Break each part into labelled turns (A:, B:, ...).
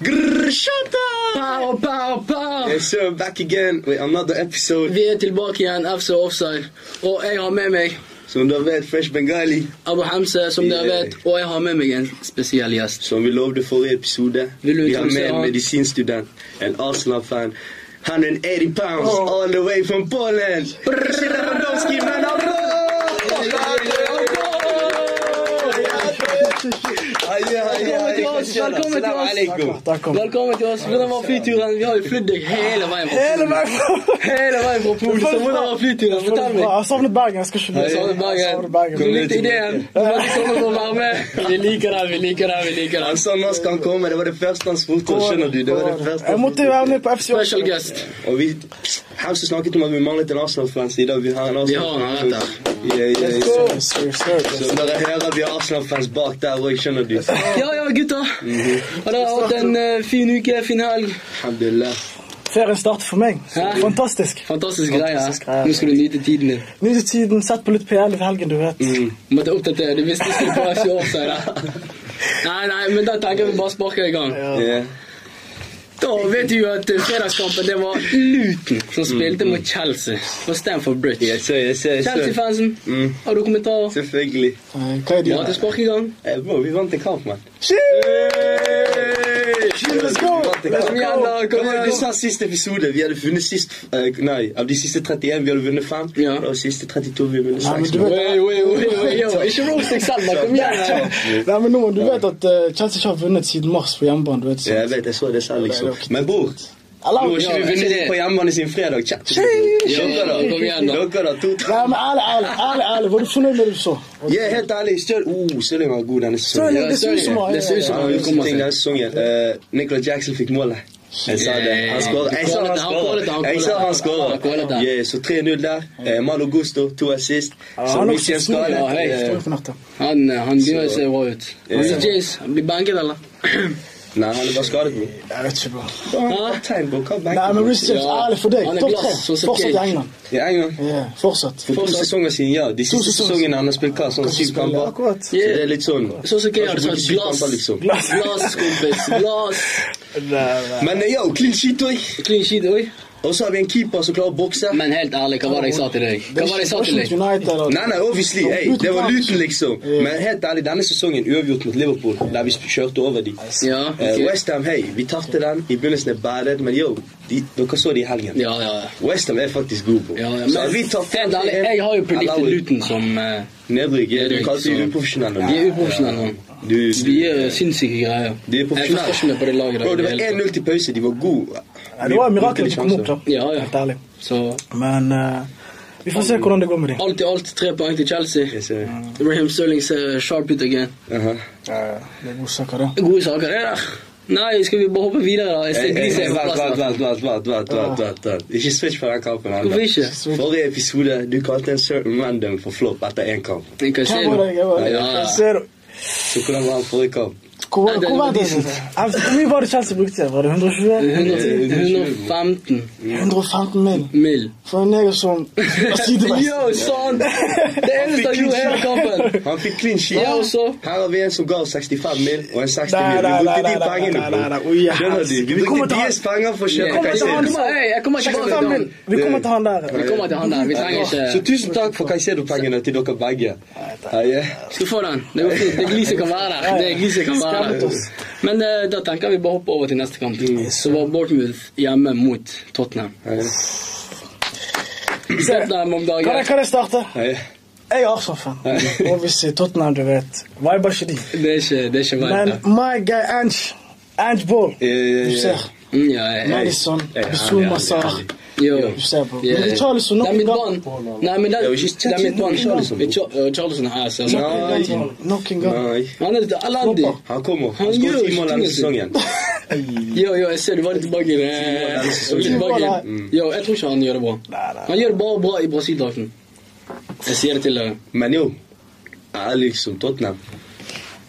A: Grrr, shut up!
B: Pow, pow, pow!
A: Yes, sir, back again with another episode.
B: Vi er tilbake igjen, FC Offside. Og jeg har med meg
A: Som dere vet, Fresh Bengali.
B: Abu Hamse, som dere
A: Yeah.
B: vet. Og jeg har med meg en spesiell gjest.
A: Som vi lovde forrige episode.
B: Vil du
A: Vi har
B: introdusere
A: med en
B: han?
A: medisinstudent. En Arsenal-fan. 180 pounds
B: Oh.
A: all the way from Poland. Lewandowski, man, bravo! Aie, aie,
B: Velkommen
A: aie.
B: til oss! Velkommen til
C: Assalamu alaikum.
B: oss! Velkommen til oss. Hvordan var flyturen? Vi har jo flydd deg hele veien fra
C: Hele veien fra
B: Hele veien fra Polen. Så hvordan var flyturen? Fortell
C: Jeg
B: meg.
C: har savnet Bergen. Jeg skal ikke
B: Jeg savner Bergen. Du likte ideen. Du var ikke kommet for sånn å være med. Vi liker den, vi liker den, vi liker
A: Han
B: den.
A: sa når skal han komme. Det var det første han spurte om. Skjønner du? Det var det første
C: Jeg
A: han
C: måtte jo være med på FC
B: Special guest.
A: Og vi Hamse snakket om at vi manglet en Arsenal-fan, så i dag vi har en Arsenal-fan.
B: Vi har han,
A: Yeah, yeah, yeah.
C: Sir, sir, sir.
A: Så dere hører vi har Arsenal-fans bak der òg, skjønner du.
B: Ja, ja, gutta. Har dere hatt en eh, fin uke, fin helg?
A: Alhamdulillah.
C: Ferien starter for meg.
B: Ja.
C: Fantastisk.
B: Fantastisk greie.
C: Fantastisk greie.
B: Nå skal du nyte tiden din.
C: Ny til tiden, sett på litt PL i helgen, du vet.
B: Mm. Måtte oppdatere. Du visste ikke på ikke år siden. Nei, nei, men da tenker jeg vi bare sparker i gang.
A: Yeah.
B: Da vet vi jo at eh, fredagskampen, det var Luton som spilte mot Chelsea på Stamford Bridge.
A: Jeg ser, jeg ser, jeg ser.
B: Chelsea-fansen,
A: Mm.
B: har du kommentarer?
A: Selvfølgelig.
C: Hva er
B: Ja, til spark i gang.
A: Eh, bro, vi vant en kamp, mann.
C: Let's go!
A: Vi
B: Kom
C: Let's go!
B: igjen, da.
A: Kom
B: Kom
A: igjen,
B: igjen.
A: Du sa siste episode. Vi hadde vunnet sist eh, Nei, av de siste 31 vi hadde vunnet 5.
B: Ja.
A: Og siste 32 vi vunnet
C: Nei, men
A: 6.
C: du vet-
B: Oi, oi, oi, oi, oi. Ikke roast deg selv, da. Kom igjen. da.
C: Nei, men nå, du vet at eh, Chelsea ikke har vunnet siden mars på hjemmebane. du vet så.
A: Jeg vet, jeg så det selv, liksom. Men bror, nå
C: Eller,
A: har ikke
B: Ja,
A: vi
B: men ikke
A: vunnet
B: det.
A: på hjemmebane siden fredag. Tja,
B: Ja,
A: Skjønner dere?
B: kom igjen, da.
A: Dere, da. To,
C: Nei, men ærlig, ærlig, ærlig, ærlig. Var du fornøyd med det du så?
A: Ja, helt ærlig. Støl oh, Stirling var god denne sesongen.
C: Stirling, det ser ut som han-
B: Det ser ut som
A: Han
B: han
A: har
B: vil
A: gjort
B: komme
A: ting
B: seg.
A: denne sesongen. Eh, Nicolas Jackson fikk målet. Jeg sa det. Han skåret. Jeg sa han skåret. Jeg sa han skåret. Yeah, så 3-0 der. Eh, Malo Gusto, to assist. Så
C: han
A: mye skade.
B: Ja, hei.
A: Eh,
B: Han, eh, han begynner å se rå ut.
A: Ja.
B: Mr. Jace, han blir benket, eller?
A: Nei, han er bare skadet, bro.
C: Jeg vet ikke, bro.
A: Kaptein, bro. Hva
C: Nei, men Rich
A: benker
C: James,
B: Ja.
C: ærlig for deg.
B: Han er
C: Topp
B: glass,
C: tre.
B: så ser
C: Fortsatt i
B: cake.
C: England.
A: Ja, en gang.
C: Ja, fortsatt.
A: For to sesonger siden, ja. De siste
C: sesonger
A: sesongene han har spilt hva? Sånn syv kamper.
C: Akkurat.
A: Så det er litt sånn
B: Sånn som jeg
A: Har
B: hadde
A: ikke
B: sagt.
A: brukt syv
B: Glass.
A: kamper, liksom.
B: Glass, kompis. Glass.
A: Men eh, yo, clean sheet, oi.
B: Clean sheet, oi.
A: Og så har vi en keeper som klarer å bokse.
B: Men helt ærlig, hva var det jeg sa til deg? Hva var det jeg sa til deg?
C: United, eller?
A: Nei, nei, obviously. Hey, det var Luton, liksom. Men helt ærlig, denne sesongen uavgjort mot Liverpool, der vi kjørte over de.
B: Ja,
A: Eh,
B: ok.
A: Westham, hei, vi tapte den. I begynnelsen er badet, men yo, de, dere så de i helgen.
B: Ja, ja, ja.
A: Westham er faktisk god, bro.
B: Ja, ja,
A: så
B: men
A: vi tapte
B: helt ærlig, jeg har jo prediktet Luton som eh,
A: Nedrygg. Ja, du
B: Nedrykk,
A: kalte
B: så-
A: de uprofesjonelle.
B: De er uprofesjonelle nå.
A: Du, du,
B: De gjør sinnssyke greier.
A: de er
B: Jeg forstår ikke meg på det laget. der
A: Bro,
B: i
A: det var
B: hele tatt.
A: 1-0 til pause. De var gode.
C: Nei, det var et mirakel at de kom opp, da.
B: Ja, ja.
C: Helt ærlig.
B: Så
C: Men eh, vi får se hvordan det går med dem.
B: alt i alt tre poeng til Chelsea. Raheem Sterling ser sharp ut again.
A: Uh-huh.
C: Det er godsaker, det.
B: Gode saker, det der. Nei, skal vi bare hoppe videre, da? Jeg ser Gris er på
A: Vent,
B: plass.
A: vent,
B: da.
A: vent, vent, vent, vent, vent, vent, vent. Ikke switch på den kampen. Anders.
B: Hvorfor ikke?
A: Forrige episode, du kalte en certain random for flop etter én kamp.
B: Jeg kan se
C: Hva var det? Hva var det?
B: Ja, ja.
C: Jeg ser-
A: Så hvordan var han forrige kamp?
C: Hvor var
B: Nei, det
C: hvor var
B: var
C: det?
B: decent.
C: Jeg vet- Hvor mye var det Chelsea brukte? Var det 120?
B: 115
C: 115 mil.
B: mil.
C: For en neger som var sideveis.
B: Yo, son! Det eneste han gjorde hele kampen.
A: Han fikk clean sheet.
B: Ja, og så?
A: Her har vi en som ga oss 65 mil og en 60
C: Nei,
A: mil.
C: nei,
A: Vi
C: nei,
A: brukte
C: nei,
A: de
C: nei,
A: pengene,
C: nei, nei, nei,
A: bro.
C: oi, ja,
A: Skjønner du?
C: Vi
A: Vi
C: kommer
A: brukte
C: til han-
A: deres penger for å kjøpe
B: Jeg
C: til
A: Caicedo.
C: han-
B: kommer- hey, jeg kommer ikke til
C: 65 mil.
B: den.
C: Vi kommer til han der.
B: Vi kommer til han der. Vi trenger ikke
A: Så tusen takk for Caicedo-pengene til dere begge. Heie.
B: Skal få den. Det går fint. Det er gliset kan være der. Det er gliset kan være
C: Skammet
B: der.
C: oss.
B: Men eh, da tenker jeg vi bare hopper over til neste kamp. Så var Bournemouth hjemme mot Tottenham.
A: Heie.
B: Tottenham om
C: Kan jeg,
B: dagen.
C: kan jeg starte?
A: Heie.
C: Jeg er Arsenal-fan. Og hvis i Tottenham, du vet. Viber ikke de.
B: Det er ikke, det er ikke
C: Men
B: verdt det.
C: my guy Ange. Ange Ball.
A: Ja, ja, ja.
C: Du ser.
B: Mm, Ja, ja, ja.
C: Madison.
A: Ja, ja, ja, ja.
C: Bissouma Sarr.
B: Jo.
C: Du ser på.
B: Ja,
C: Men
B: ja.
C: Charlison, nå
B: Det er midtbanen. Nei, men det
A: Ja,
B: er
A: ikke
B: det er midtbanen.
A: Charlison.
B: Charlison. Charlison er her, så
A: Nei.
C: Nok en gang.
A: Nei.
B: Han er litt elendig.
A: Han kommer.
B: Han
A: Han skåret
B: gjør
A: ti mål
B: ikke
A: denne
B: det.
A: sesongen.
B: Jo, jo, jeg ser du var litt tilbake. i det-
A: sesongen.
B: Litt sånn. tilbake.
C: Nei.
B: i- Jo, jeg tror ikke han gjør det bra.
C: Nei, nei.
B: Han gjør det bare bra i Brasil-drakten. Jeg sier det til deg.
A: Men jo, ærlig som Tottenham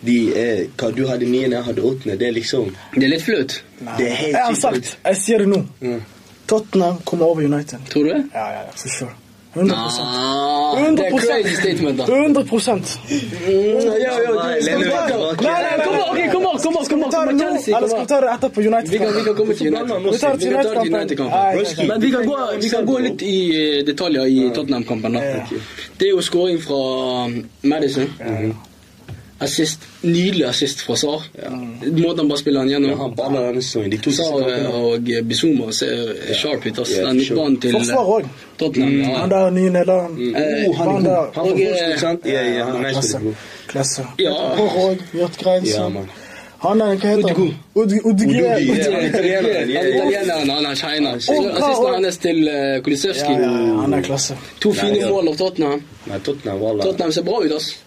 A: De er, Hva du hadde niende, jeg hadde åttende. Det er liksom
B: Det er litt flaut.
A: Det er helt
C: Jeg har
A: sykt.
C: sagt, jeg sier det nå. Tottenham kommer over United.
B: Tror du det?
C: Ja, ja, ja, for sure. 100
B: Nah, Ah. det er
C: 100%.
B: crazy statement, da.
C: 100 procent.
A: Nei, Lene vil tilbake.
C: Nei, nei,
B: Kom an, ok, kom an, kom an, kom an,
C: Ta
B: kom
C: det
B: an,
C: nå,
B: Chelsea,
C: eller skal
B: kom
C: vi
B: an.
C: ta det etterpå? United?
B: Vi kan, vi kan komme til
A: blander
B: United.
A: han
C: Vi tar det
B: Vi
C: til
B: kan ta
C: United-kampen.
B: United-kampen.
A: Roski.
B: Men vi kan, gå, vi kan gå litt i eh, detaljer i Tottenham-kampen. da. Det er jo scoring fra um, Madison. Assist, Nydelig assist fra Sar. Måten han bare spiller han
A: Ja, Han
B: gjennom.
A: baller denne sesongen. De to siste
B: Sar eh,
A: kampene.
B: og Bizuma ser eh, sharp ut. ass.
A: Ja,
B: Den
A: sure.
B: midtbanen til eh,
C: Forsvar òg.
B: Tottenham. ja.
C: Han der nye nederlenderen.
B: Mm. Eh,
A: Oh, han er god.
C: Han der.
A: Han får
B: Og, eh,
A: forskudd, sant? Ja, ja, han er
C: Klasse.
A: spiller god.
C: Klasse.
B: Ja.
C: Hårog,
A: Ja,
C: Hjortgrensen.
A: mann.
C: Han er Hva heter han? Ud-
A: Udogi, ja.
C: Udge.
A: Han er italiener,
B: Han
A: ja,
B: er
A: ja.
B: italieneren, han er shiner.
C: bra,
B: Assisten
C: og-
B: hans til eh,
C: Ja,
B: Kulisevskij.
C: ja, ja, han er klasse.
B: To fine
A: Nei, ja.
B: mål av Tottenham.
A: Nei, Tottenham, wallah.
B: Tottenham ser bra ut, ass.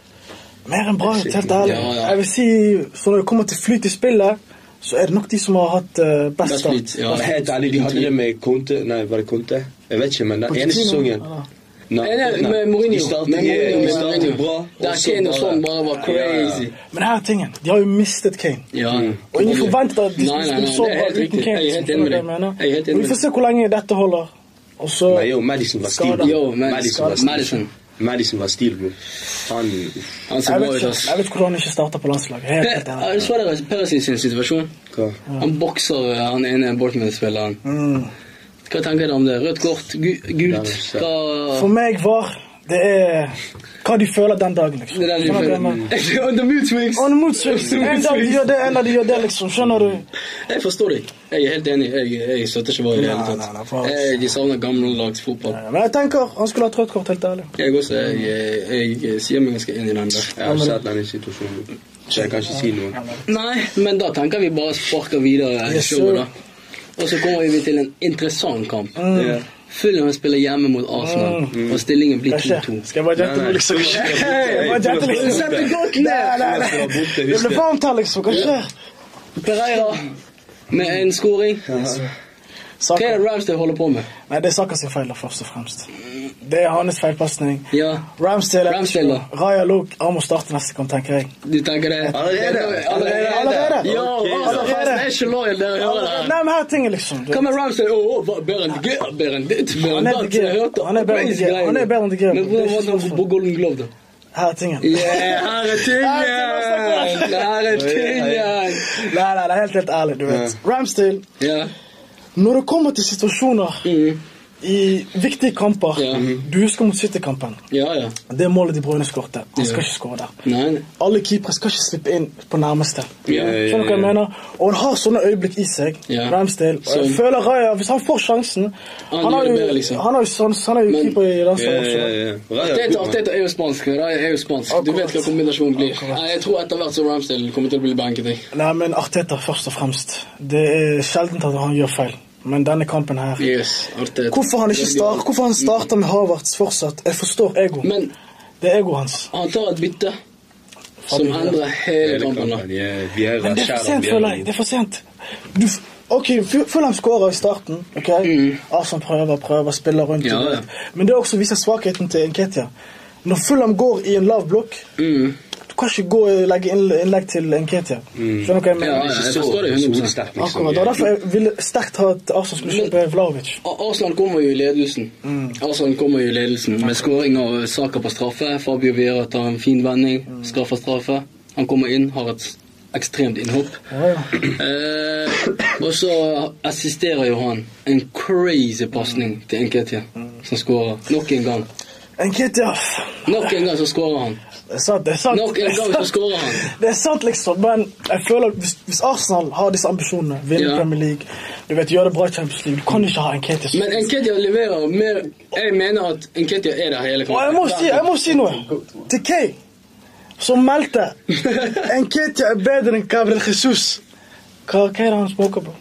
C: Mer enn bra, helt ærlig.
B: Ja, ja.
C: Jeg vil si, så når det kommer til flyt i spillet, så er det nok de som har hatt eh, best
B: Best flyt,
C: start.
B: ja.
A: Men Helt ærlig, de hadde det med Conte Nei, var det Conte? Jeg vet ikke, men den ene
C: Pochettino,
A: sesongen
C: eller?
A: Nei,
B: Nei, nei,
A: nei.
B: med Mourinho.
A: De startet,
B: Med
A: de
B: Mourinho, med
A: startet
B: Mourinho.
A: bra.
B: Der
A: og så
B: Kane og sånn bare var crazy.
C: Men her er tingen. De har jo mistet Kane.
B: Ja.
C: Og ingen forventer at de
B: Nei,
C: skulle
B: nei,
C: spille
B: nei,
C: så
B: det er
C: bra
B: helt
C: uten
B: riktig.
C: Kane.
B: Jeg er helt enig med deg. Jeg er helt enig
C: Og Vi får
B: med
C: se hvor lenge dette holder. Og så
A: Nei, yo, Madison var stil.
C: Skada.
A: bro.
B: Yo, Madison var stil.
A: Madison. Madison var stil, bro. Han uff,
B: Han ser
C: jeg
B: bra
C: vet,
B: ut,
C: ikke,
B: ass.
C: jeg vet ikke hvordan han ikke starter på landslaget. Helt, helt
B: Per-
C: ærlig.
B: Jeg så dere Perisic sin situasjon.
A: Hva?
B: Han bokser eh, han ene Bortman-spilleren.
C: Mm.
B: Hva tenker dere om det? Rødt kort? Gu-
A: Nei,
B: Gult?
A: shit.
B: Hva
C: For meg var det er hva de føler den dagen, liksom.
B: Det er den du
C: Skjønner du hva jeg mener?
B: føler. On the mood swings.
C: Og motsving. En dag de gjør det, en dag de gjør det, liksom. Skjønner du?
B: Jeg forstår deg. Jeg er helt enig. Jeg, jeg støtter ikke Våre i det
C: Nei,
B: hele
C: nei, nei,
B: tatt.
C: for-
B: Jeg- De savner gammeldags fotball.
C: Men jeg tenker han skulle hatt rødt kort, helt ærlig.
B: Jeg også. Jeg, jeg, jeg sier meg ganske inn i den der.
A: Jeg har sett den i situasjonen. Så jeg kan ikke si noe.
B: Nei, men da tenker vi bare sparker videre
C: Yes,
B: showet,
C: sir. Mm.
B: da. Og så kommer vi til en interessant kamp.
A: Ja.
B: Fulham spiller hjemme mot Arsenal, og stillingen blir
C: Hva skjer?
B: 2-2.
C: Mm. Skal jeg bare jette noe, liksom? Jeg bare jette litt.
A: Hey,
C: Sett det godt ned! Nei, nei, nei. Det ble varmt her, liksom. Hva skjer?
B: Pereira med en scoring. Hva
C: Saka.
B: er det Ramsdale holder på med?
C: Nei, det er Saka sin feil, da, først og fremst. Det er hans feilpasning.
B: Ja,
C: Ramsdale,
B: Ramsdale, da.
C: Raja Luke han må starte neste kamp, tenker jeg.
B: du tenker det?
A: Allerede?
B: Allerede?
C: Allerede?
B: Yo,
A: Ok, da.
B: Arsenal-fansen er ikke loyal, dere hører det.
C: Nei, men her er tingen, liksom. Du-
B: Hva med Ramsdale? Åh, åh, hva- bedre enn det, bedre enn det, bedre enn
C: Han er
B: det.
C: bedre enn
B: Jeg hørte
C: Han er bedre enn det.
B: crazy greier.
C: Han er bedre enn det.
B: Men
C: Det er
B: hvordan
C: ikke
B: var det
C: sånn.
B: på Golden Glove, da?
C: Her er altså, tingen.
B: Yeah, her er tingen! Her er tingen!
C: Nei, nei, det er helt, helt ærlig, du vet. Ramsdale,
B: Ja.
C: når det kommer til situasjoner
B: Mm.
C: i viktige kamper
B: Ja. Mhm.
C: Du husker mot City-kampen.
B: ja, ja.
C: Det er målet de Brøyne skåret. Han
B: Ja.
C: skal ikke skåre der.
B: Nei, nei.
C: Alle keepere skal ikke slippe inn på nærmeste.
B: Ja, ja,
C: Skjønner du hva jeg mener? Og han har sånne øyeblikk i seg.
B: Ja.
C: Ramsdale. Og jeg
B: Som-
C: føler Raja, hvis han får sjansen
B: Han
C: Han
B: gjør
C: er
B: det bedre,
C: jo,
B: liksom.
C: han er jo, sånn, han er jo
B: Men-
C: keeper i landslaget også.
B: Arteta, Arteta er jo spansk. men da er jeg jo spansk. Du vet hva kombinasjonen blir. Nei, jeg tror etter hvert så Ramsdale kommer til å bli banket. Jeg.
C: Nei, men Arteta først og fremst. Det er sjeldent at han gjør feil. Men denne kampen her
B: Yes, Arteta.
C: Hvorfor han ikke start, hvorfor han starter med Havertz fortsatt? Jeg forstår ego.
B: Men
C: Det er egoet hans.
B: han tar et bytte som endrer hele kampen. da.
C: Men det er for sent, føler jeg. Det er for sent. Du, f- ok, Fu- Fulham skårer i starten. ok? Arsenal prøver, prøver, spiller rundt.
B: Mm. Ja,
C: og
B: ja.
C: rundt. Men det også viser svakheten til Nketia. Når Fulham går i en lav blokk
B: Mm.
C: Du kan ikke gå og legge inn- innlegg til Nketia. Skjønner du hva jeg mener?
B: Mm. Ja, Liksom, ja, jeg forstår det 100%.
C: Akkurat, og Derfor jeg ville sterkt ha at Arsenal skulle kjøpe Vlaovic.
B: Ar- Arsenal kommer jo i ledelsen.
C: Mm.
B: Arsenal kommer jo i ledelsen Med skåring av Saka på straffe. Fabio Vera tar en fin
C: Mm.
B: vending, straffer straffe. Han kommer inn, har et ekstremt innhopp.
C: Ja, ja.
B: Eh, og så assisterer jo han en crazy pasning til Nketia, som skårer. Nok en gang.
C: Nketia
B: Nok en gang så skårer han.
C: Det er sant, det er sant.
B: Nok en gang så skårer han.
C: Det er sant, liksom, men jeg føler at hvis, hvis Arsenal har disse ambisjonene, vinne
B: Ja.
C: Premier League, du vet, gjøre det bra i Champions League, du kan ikke ha Nketia som
B: Men Nketia leverer mer Jeg mener at Nketia er der hele
C: Og jeg må si, jeg må si noe. Til Kay, som meldte Nketia er bedre enn Gabriel Jesus. Hva, hva er det han smoker på?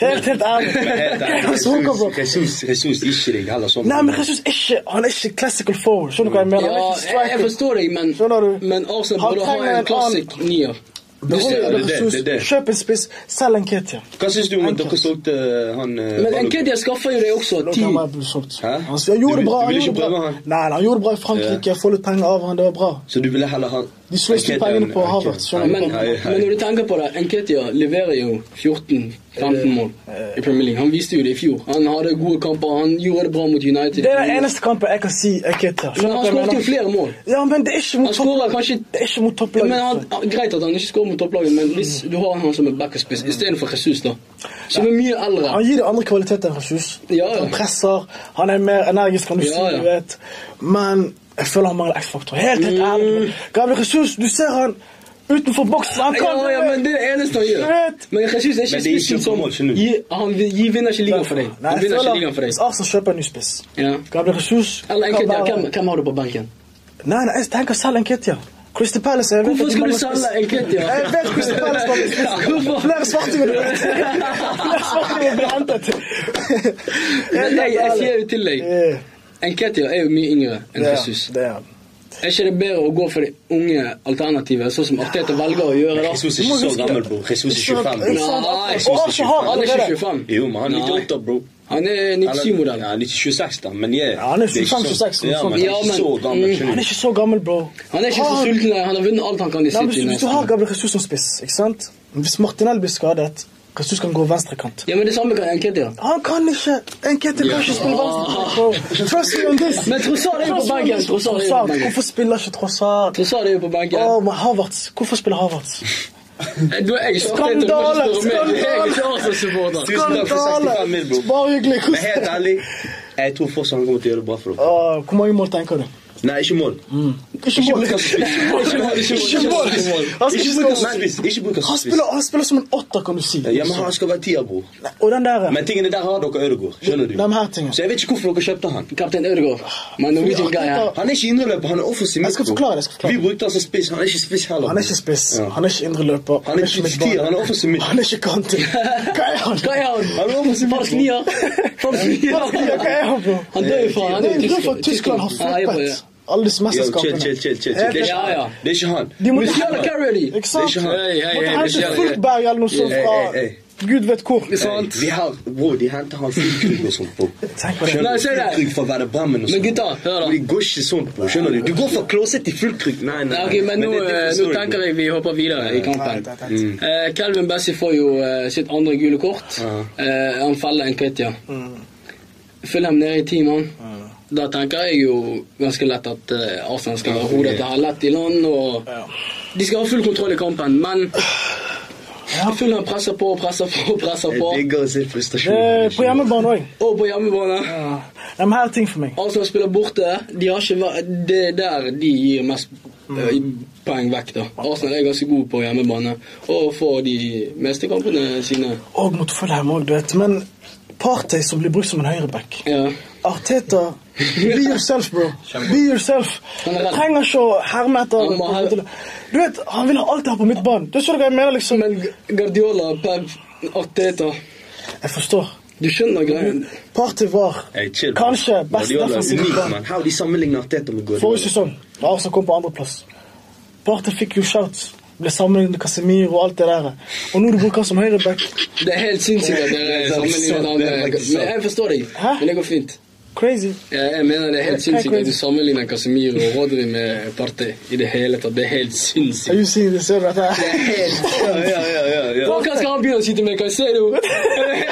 C: Helt, helt ærlig. Hva er det han smoker på?
A: Jesus ikke deg heller sånn.
C: Nei, men Jesus er ikke, han er ikke classical forward. Skjønner du hva jeg mener?
B: Ja,
C: Han er ikke
B: jeg, jeg
C: striker.
B: forstår deg, men,
C: Skjønner du?
B: men Arsenal
C: Han
B: burde ha
C: trenger
B: en
C: en annen-
B: classic nier. Du
C: Behold
B: ser
A: det, det,
C: Jesus,
A: det, det.
C: Kjøp en spiss, selg Nketia.
A: Hva syns du om at dere solgte han eh,
B: Men
A: Balogun?
B: Nkedia skaffer jo deg også
C: Nå
B: tid.
C: kan man bli solgt.
A: Hæ?
C: Han sier, han gjorde det bra.
A: Du vil- du vil ikke
C: han gjorde det bra.
A: prøve han?
C: Nei, nei, han gjorde det bra i Frankrike. Jeg får litt penger av han, det var bra.
A: Så du ville heller ha
C: De sløste
A: Enketia
C: pengene på
A: enn-
C: Harvard,
A: Enketia.
C: skjønner du?
B: Men,
A: Hei, hei.
B: men når du tenker på det, Nketia leverer jo 14 15 mål i Premier League. Han viste jo det i fjor. Han hadde gode kamper, han gjorde det bra mot United.
C: Det er den eneste kampen jeg kan si jeg kan ta.
B: Men han skåret jo flere mål.
C: Ja, men det er ikke
B: Han
C: mot
B: skårer
C: topplaget.
B: kanskje
C: Det er ikke mot
B: ja,
C: topplaget.
B: men han, ja, Greit at han ikke skårer mot topplaget, men hvis du har han som en backerspiss istedenfor Jesus, da, som er mye eldre
C: Han gir det andre kvaliteter enn Jesus.
B: Ja, ja.
C: Han presser, han er mer energisk, eh, kan du
B: Ja,
C: si.
B: ja.
C: du vet. Men jeg føler han mangler X-faktor. Helt
B: Mm.
C: helt ærlig. Gabriel Jesus, du ser han utenfor boksen. Han
B: ja,
C: kan
B: ja, men Det er det eneste han gjør.
C: Shit.
B: Men Jesus er
A: Men
B: ikke
A: det er
B: spissen
A: ikke
B: som
A: mål, skjønner du.
B: gi, Han vi- gi- vinner ikke ligaen for deg.
C: Nei,
B: Han
C: jeg
B: vinner ikke
C: føler
B: ligaen for
C: Hvis
B: deg.
C: Arsenal kjøper en ny spiss
B: Ja.
C: Gabriel Jesus
B: Eller
C: kan
B: Enketia.
C: være-
B: Hvem, hvem har du på benken?
C: Nei, nei, jeg tenker selv Enketia. Crystal Palace jeg vet
B: Hvorfor
C: ikke
B: skal
C: om
B: du
C: han er
B: selge
C: spiss.
B: Enketia?
C: Jeg vet Crystal Palace var
B: Hvorfor?
C: spiss. Flere svartinger du vet. Flere svartinger blir hentet.
B: Men jeg, jeg sier jo til deg
C: Eh,
B: Enketia er jo mye yngre enn
C: det er-
B: Jesus.
C: Det er han.
B: Er ikke det bedre å gå for de unge alternativet, sånn som Arteta velger å gjøre? da?
A: Jesus er ikke så gammel, bro. Jesus er 25.
B: Nei,
A: bro.
B: Jesus
C: Og
A: er
C: Arsenal har
A: 25.
B: Han er ikke
C: allerede
B: 25.
A: Jo, men han er
B: Nei.
A: 98, bro.
B: Han er
A: Eller-
B: 97-modell.
A: Ja, han er ikke 26, da, men yeah.
C: Ja, han er sånn.
A: Det ikke
C: 25,
A: så-
C: 26,
A: Ja, men han
B: Ja,
A: er ikke
B: men-
A: så gammel.
B: Mm.
C: Han
A: skjønner
C: er
A: du.
C: ikke så gammel, bro.
B: Han er ikke så
C: Har-
B: sulten. Han har vunnet alt han kan i
C: Nei, men hvis,
B: City.
C: hvis du
B: nesten.
C: har Gabriel Jesus som spiss, ikke sant? Hvis Martinell blir skadet, Jesus kan gå venstrekant.
B: Ja, men det samme kan Enketia.
C: Han kan ikke Enketia kan ikke spille venstrekant, bro. Trust me on this.
B: Men Trossard er jo på benken. Trossard er jo på
C: Trossard,
B: benken.
C: Hvorfor spiller ikke Trossard?
B: Trossard er jo på benken.
C: Åh, men Havertz. Hvorfor spiller Havertz?
B: Du er jeg som
C: Skandale!
B: Arteta, du må ikke spørre meg. Jeg er ikke
C: Skandale!
B: Arsenal-supporter.
A: Tusen takk for 65 mil, bro.
C: Bare hyggelig.
A: Men helt ærlig, jeg tror fortsatt han kommer til å gjøre det bra for dere.
C: Åh, Hvor mange mål tenker du?
A: Nei, ikke mål.
C: Ikke Mm. mål.
A: bruk han som spiss.
B: Ikke mål, ikke mål,
C: Ikke mål.
B: ikke mål.
C: Han skal
A: Ikke
C: ikke
A: bruk han
C: skåre.
A: som spiss. Ikke bruk han som
C: Han
A: spiss.
C: spiller, han spiller som en åtter, kan du si.
A: Ja, men han skal være tier, bror.
C: Og den der
A: Men tingene der har dere Ødegaard. Skjønner du?
C: De her tingene.
A: Så jeg vet ikke hvorfor dere kjøpte han.
B: Kaptein Ødegaard. Man er Norwegian guy her.
A: Han er ikke indreløper, han er offensiv.
C: Jeg skal
A: midtbro.
C: forklare, jeg skal forklare.
A: Vi brukte han som spiss, han er ikke spiss heller.
C: Han er ikke spiss.
A: Ja.
C: Han er ikke indre løper.
A: Han er ikke tier, han er offensiv midt.
C: Han er ikke kante. Hva er han?
B: Hva er han?
A: Han er offensiv
B: Falsk nier. Falsk nier.
C: Falsk nier, hva er han, bro?
B: Han dør jo fra han
C: Det
B: er
C: er en grunn for
B: tysker.
C: at Tyskland har
B: Ja, jeg bare-
C: flippet alle disse
A: Yo, chill,
C: mesterskapene.
A: chill, chill, chill.
C: Ja,
A: Det er
B: ja,
A: ikke
B: ja.
A: han. Det er ikke han.
C: De måtte
B: Luciano Caroli.
C: Ikke sant?
A: Det er ikke han.
B: Hei, hei,
C: Måtte
B: hei,
C: hente
B: Luciano.
C: Fruchtberg eller noe sånt
A: Hey,
C: fra
A: hey, hey.
C: gud vet hvor.
A: Hey,
B: Sånn.
A: Vi har, bro, de henter han Frikrug og sånt, bro.
C: Tenk på det.
B: Nei, se der.
A: Frikrug for å være Bremen og
B: Men
A: sånt.
B: gutta, hør da.
A: Det går ikke sånn, bro. Skjønner du? Du går fra klåset til fullkrug. Nei, nei.
B: Ja, ok, men nå,
A: det er
B: eh,
A: different
B: nå
A: story,
B: tenker
A: bro.
B: jeg vi hopper videre i
C: Nei,
B: kampen.
C: det er- det er-
B: Eh, Calvin Bessie får jo eh, sitt andre gule kort.
A: Ja.
B: Eh, han feller Nketia. Følg ham nede i ti mann. Da tenker jeg jo ganske lett at eh, Arsenal skal ro dette her lett i land. og
C: Ja.
B: De skal ha full kontroll i kampen, men
C: Ja.
B: Fulham presser på og presser på og presser på.
A: Jeg digger å se
C: Det er
A: frustrasjonen.
C: På hjemmebane òg.
B: Og på hjemmebane.
C: De her er ting for meg.
B: Arsenal spiller borte. De har ikke vært, det er der de gir mest eh,
A: Mm.
B: poeng vekk. da. Arsenal er ganske gode på hjemmebane og får de meste kampene sine.
C: Og mot Fulham òg, du vet. Men Partey som blir brukt som en høyreback.
B: Ja.
C: Arteta, be yourself, bro. Be yourself.
B: Han er redd.
C: Trenger ikke å herme
B: Han må ha-
C: etter Du vet, Han vil ha alt det her på midtbanen. Du skjønner hva jeg mener, liksom.
B: Men Guardiola, Pep, Arteta
C: Jeg forstår.
B: Du skjønner greien?
C: Party var
A: Hey, chill, bro.
C: kanskje best
A: Guardiola er
C: defensiv
A: unik,
C: midtbane
A: man. How de sammenligner Arteta med Guardiola.
C: forrige sesong, da Arsenal kom på andreplass. Party fikk jo shouts. Ble sammenlignet med Casemiro og alt det der. Og nå du bruker han som høyreback.
B: Det er helt sinnssykt at dere
A: Det er sant,
B: sammenligner
A: det er
B: andre.
A: faktisk sant.
B: Men jeg forstår deg.
C: Hæ?
B: Men det går fint.
C: Crazy.
B: Jeg jeg mener det er helt
C: Hva-
B: sinnssykt
C: hva-
B: at du sammenligner Casemiro og Rodri med Partey i det hele tatt. Det er helt
C: Are
B: sinnssykt.
C: you seeing this? Ser du dette her?
A: Ja, ja, ja, ja, ja.
B: Hva hva skal han begynne å skyte med? Caicedo?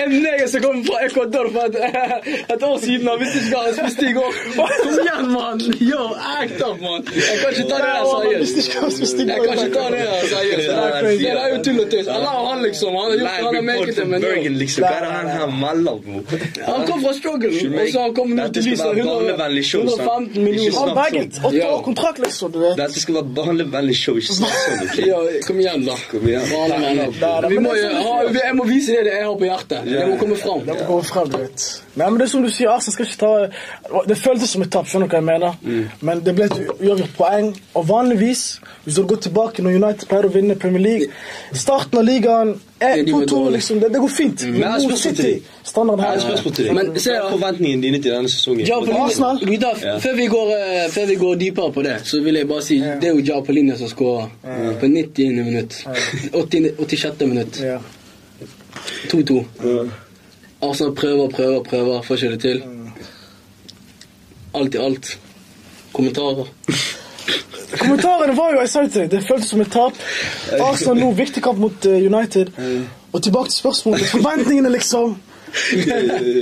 B: En neger som kommer fra Ecuador for et, et år siden. Han visste ikke hva han spiste i går. Kom igjen, mann! Yo, act up, mann! Jeg kan ikke ta det der
C: Jeg visste
B: seriøst.
C: ikke hva som stikker
B: Jeg kan ikke ta det der seriøst. Det er crazy. Det er jo tull og tøys. Han har han, liksom. Han har gjort det, han har
A: Live
B: merket det,
A: report
B: men
A: fra Bergen,
B: nå
A: liksom. Hva er det han her melder, bro?
B: Han kom fra struggle, og så han kom nå
A: Dette
B: til
A: skal
B: lyset.
A: være
B: 100
A: barnevennlig show, sant?
B: 115
A: Ikke
B: millioner.
A: sant?
C: Han bagget. Åtte
B: Ja.
C: år kontrakt, liksom. du vet.
A: Dette skal være barnevennlig show, ikke snakk sånn. ok?
B: Ja, kom igjen, da.
A: Kom igjen.
B: Barnevenner.
C: Nei, nei,
B: Vi
C: men
B: må
C: det
B: jo,
C: er sånn
B: ha- jeg må vise det jeg har på hjertet. Det må komme fram.
C: Det må gå frem, du vet. Nei, men det er som du sier, Arsenal skal ikke ta Det føltes som et tap, skjønner du hva jeg mener?
A: Mm.
C: Men det ble et uavgjort poeng. Og vanligvis, hvis du går tilbake når United pleier å vinne Premier League Starten av ligaen er
B: Ja, de var
C: 2-2,
B: dårlig.
C: liksom. Det, det går fint.
A: Mm. Men jeg har et
C: Mot
A: spørsmål til
C: City.
A: deg.
C: Standarden
A: Jeg har
C: her
A: et spørsmål til deg.
B: Men se
A: Hva
B: da.
A: er forventningene dine til denne sesongen?
B: Ja, på
C: Arsenal?
B: linje. Gutta, f-
A: Ja.
B: før, vi går, eh, før vi går dypere på det, så vil jeg bare si det er jo Ja på linje som skårer. På 90. minutt. 80, 86. minutt.
C: Ja.
B: 2-2.
A: Ja.
B: Arsenal prøver, prøver, prøver, får ikke det til. Alt i alt. Kommentarer.
C: Kommentarene var jo excited. Det føltes som et tap. Arsenal nå, viktig kamp mot eh, United. Og tilbake til spørsmålet. Forventningene, liksom.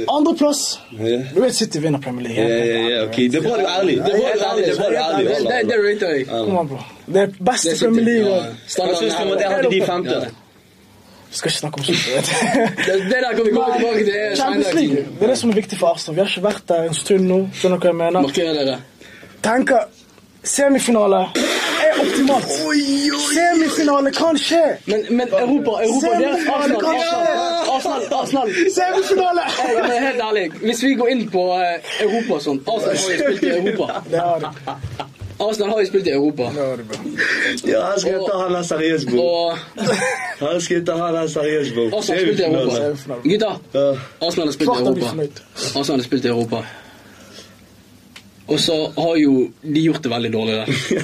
C: Andreplass.
A: Ja.
C: Du vet City vinner Premier League.
A: Ja, ja, ja, ok. Det er bra du er ærlig. Det er bra du er ærlig. Det er bra du er ærlig.
B: Det, det, det rater jeg.
C: Kom an, bro. Det er beste
B: Det er
C: Premier League.
B: Ja,
C: og-
A: Hva
B: standarden
A: syns du om at jeg
B: er
A: hadde de femte?
C: Vi skal ikke snakke om slutt.
B: Det, det der kan vi komme tilbake til
C: Champions
B: senere.
C: League. Det er det som er viktig for Arsenal. Vi har ikke vært der en stund nå. Skjønner du hva jeg mener?
B: Marker dere.
C: Tenker semifinale er optimalt. Semifinale kan skje.
B: Men, men Europa, Europa det er
C: Semifinale
B: Arsenal.
C: kan skje.
B: Arsenal, Arsenal, Arsenal.
C: Semifinale!
B: Ja, men helt ærlig, hvis vi går inn på eh, Europa og sånn Arsenal har jo spilt i Europa.
C: Det har det.
B: Arsenal har jo spilt i Europa.
C: Det har det, bro.
A: Ja, han skal ta han der seriøst, bror.
B: Og
A: Han skal ta han der seriøst, bror.
B: Arsenal har spilt i Europa.
C: Semifinale.
B: Gutta,
A: Ja.
B: Arsenal har spilt i
C: Klart han blir
B: Europa.
C: fornøyd.
B: Arsenal har spilt i Europa. Og så har jo de gjort det veldig dårlig der.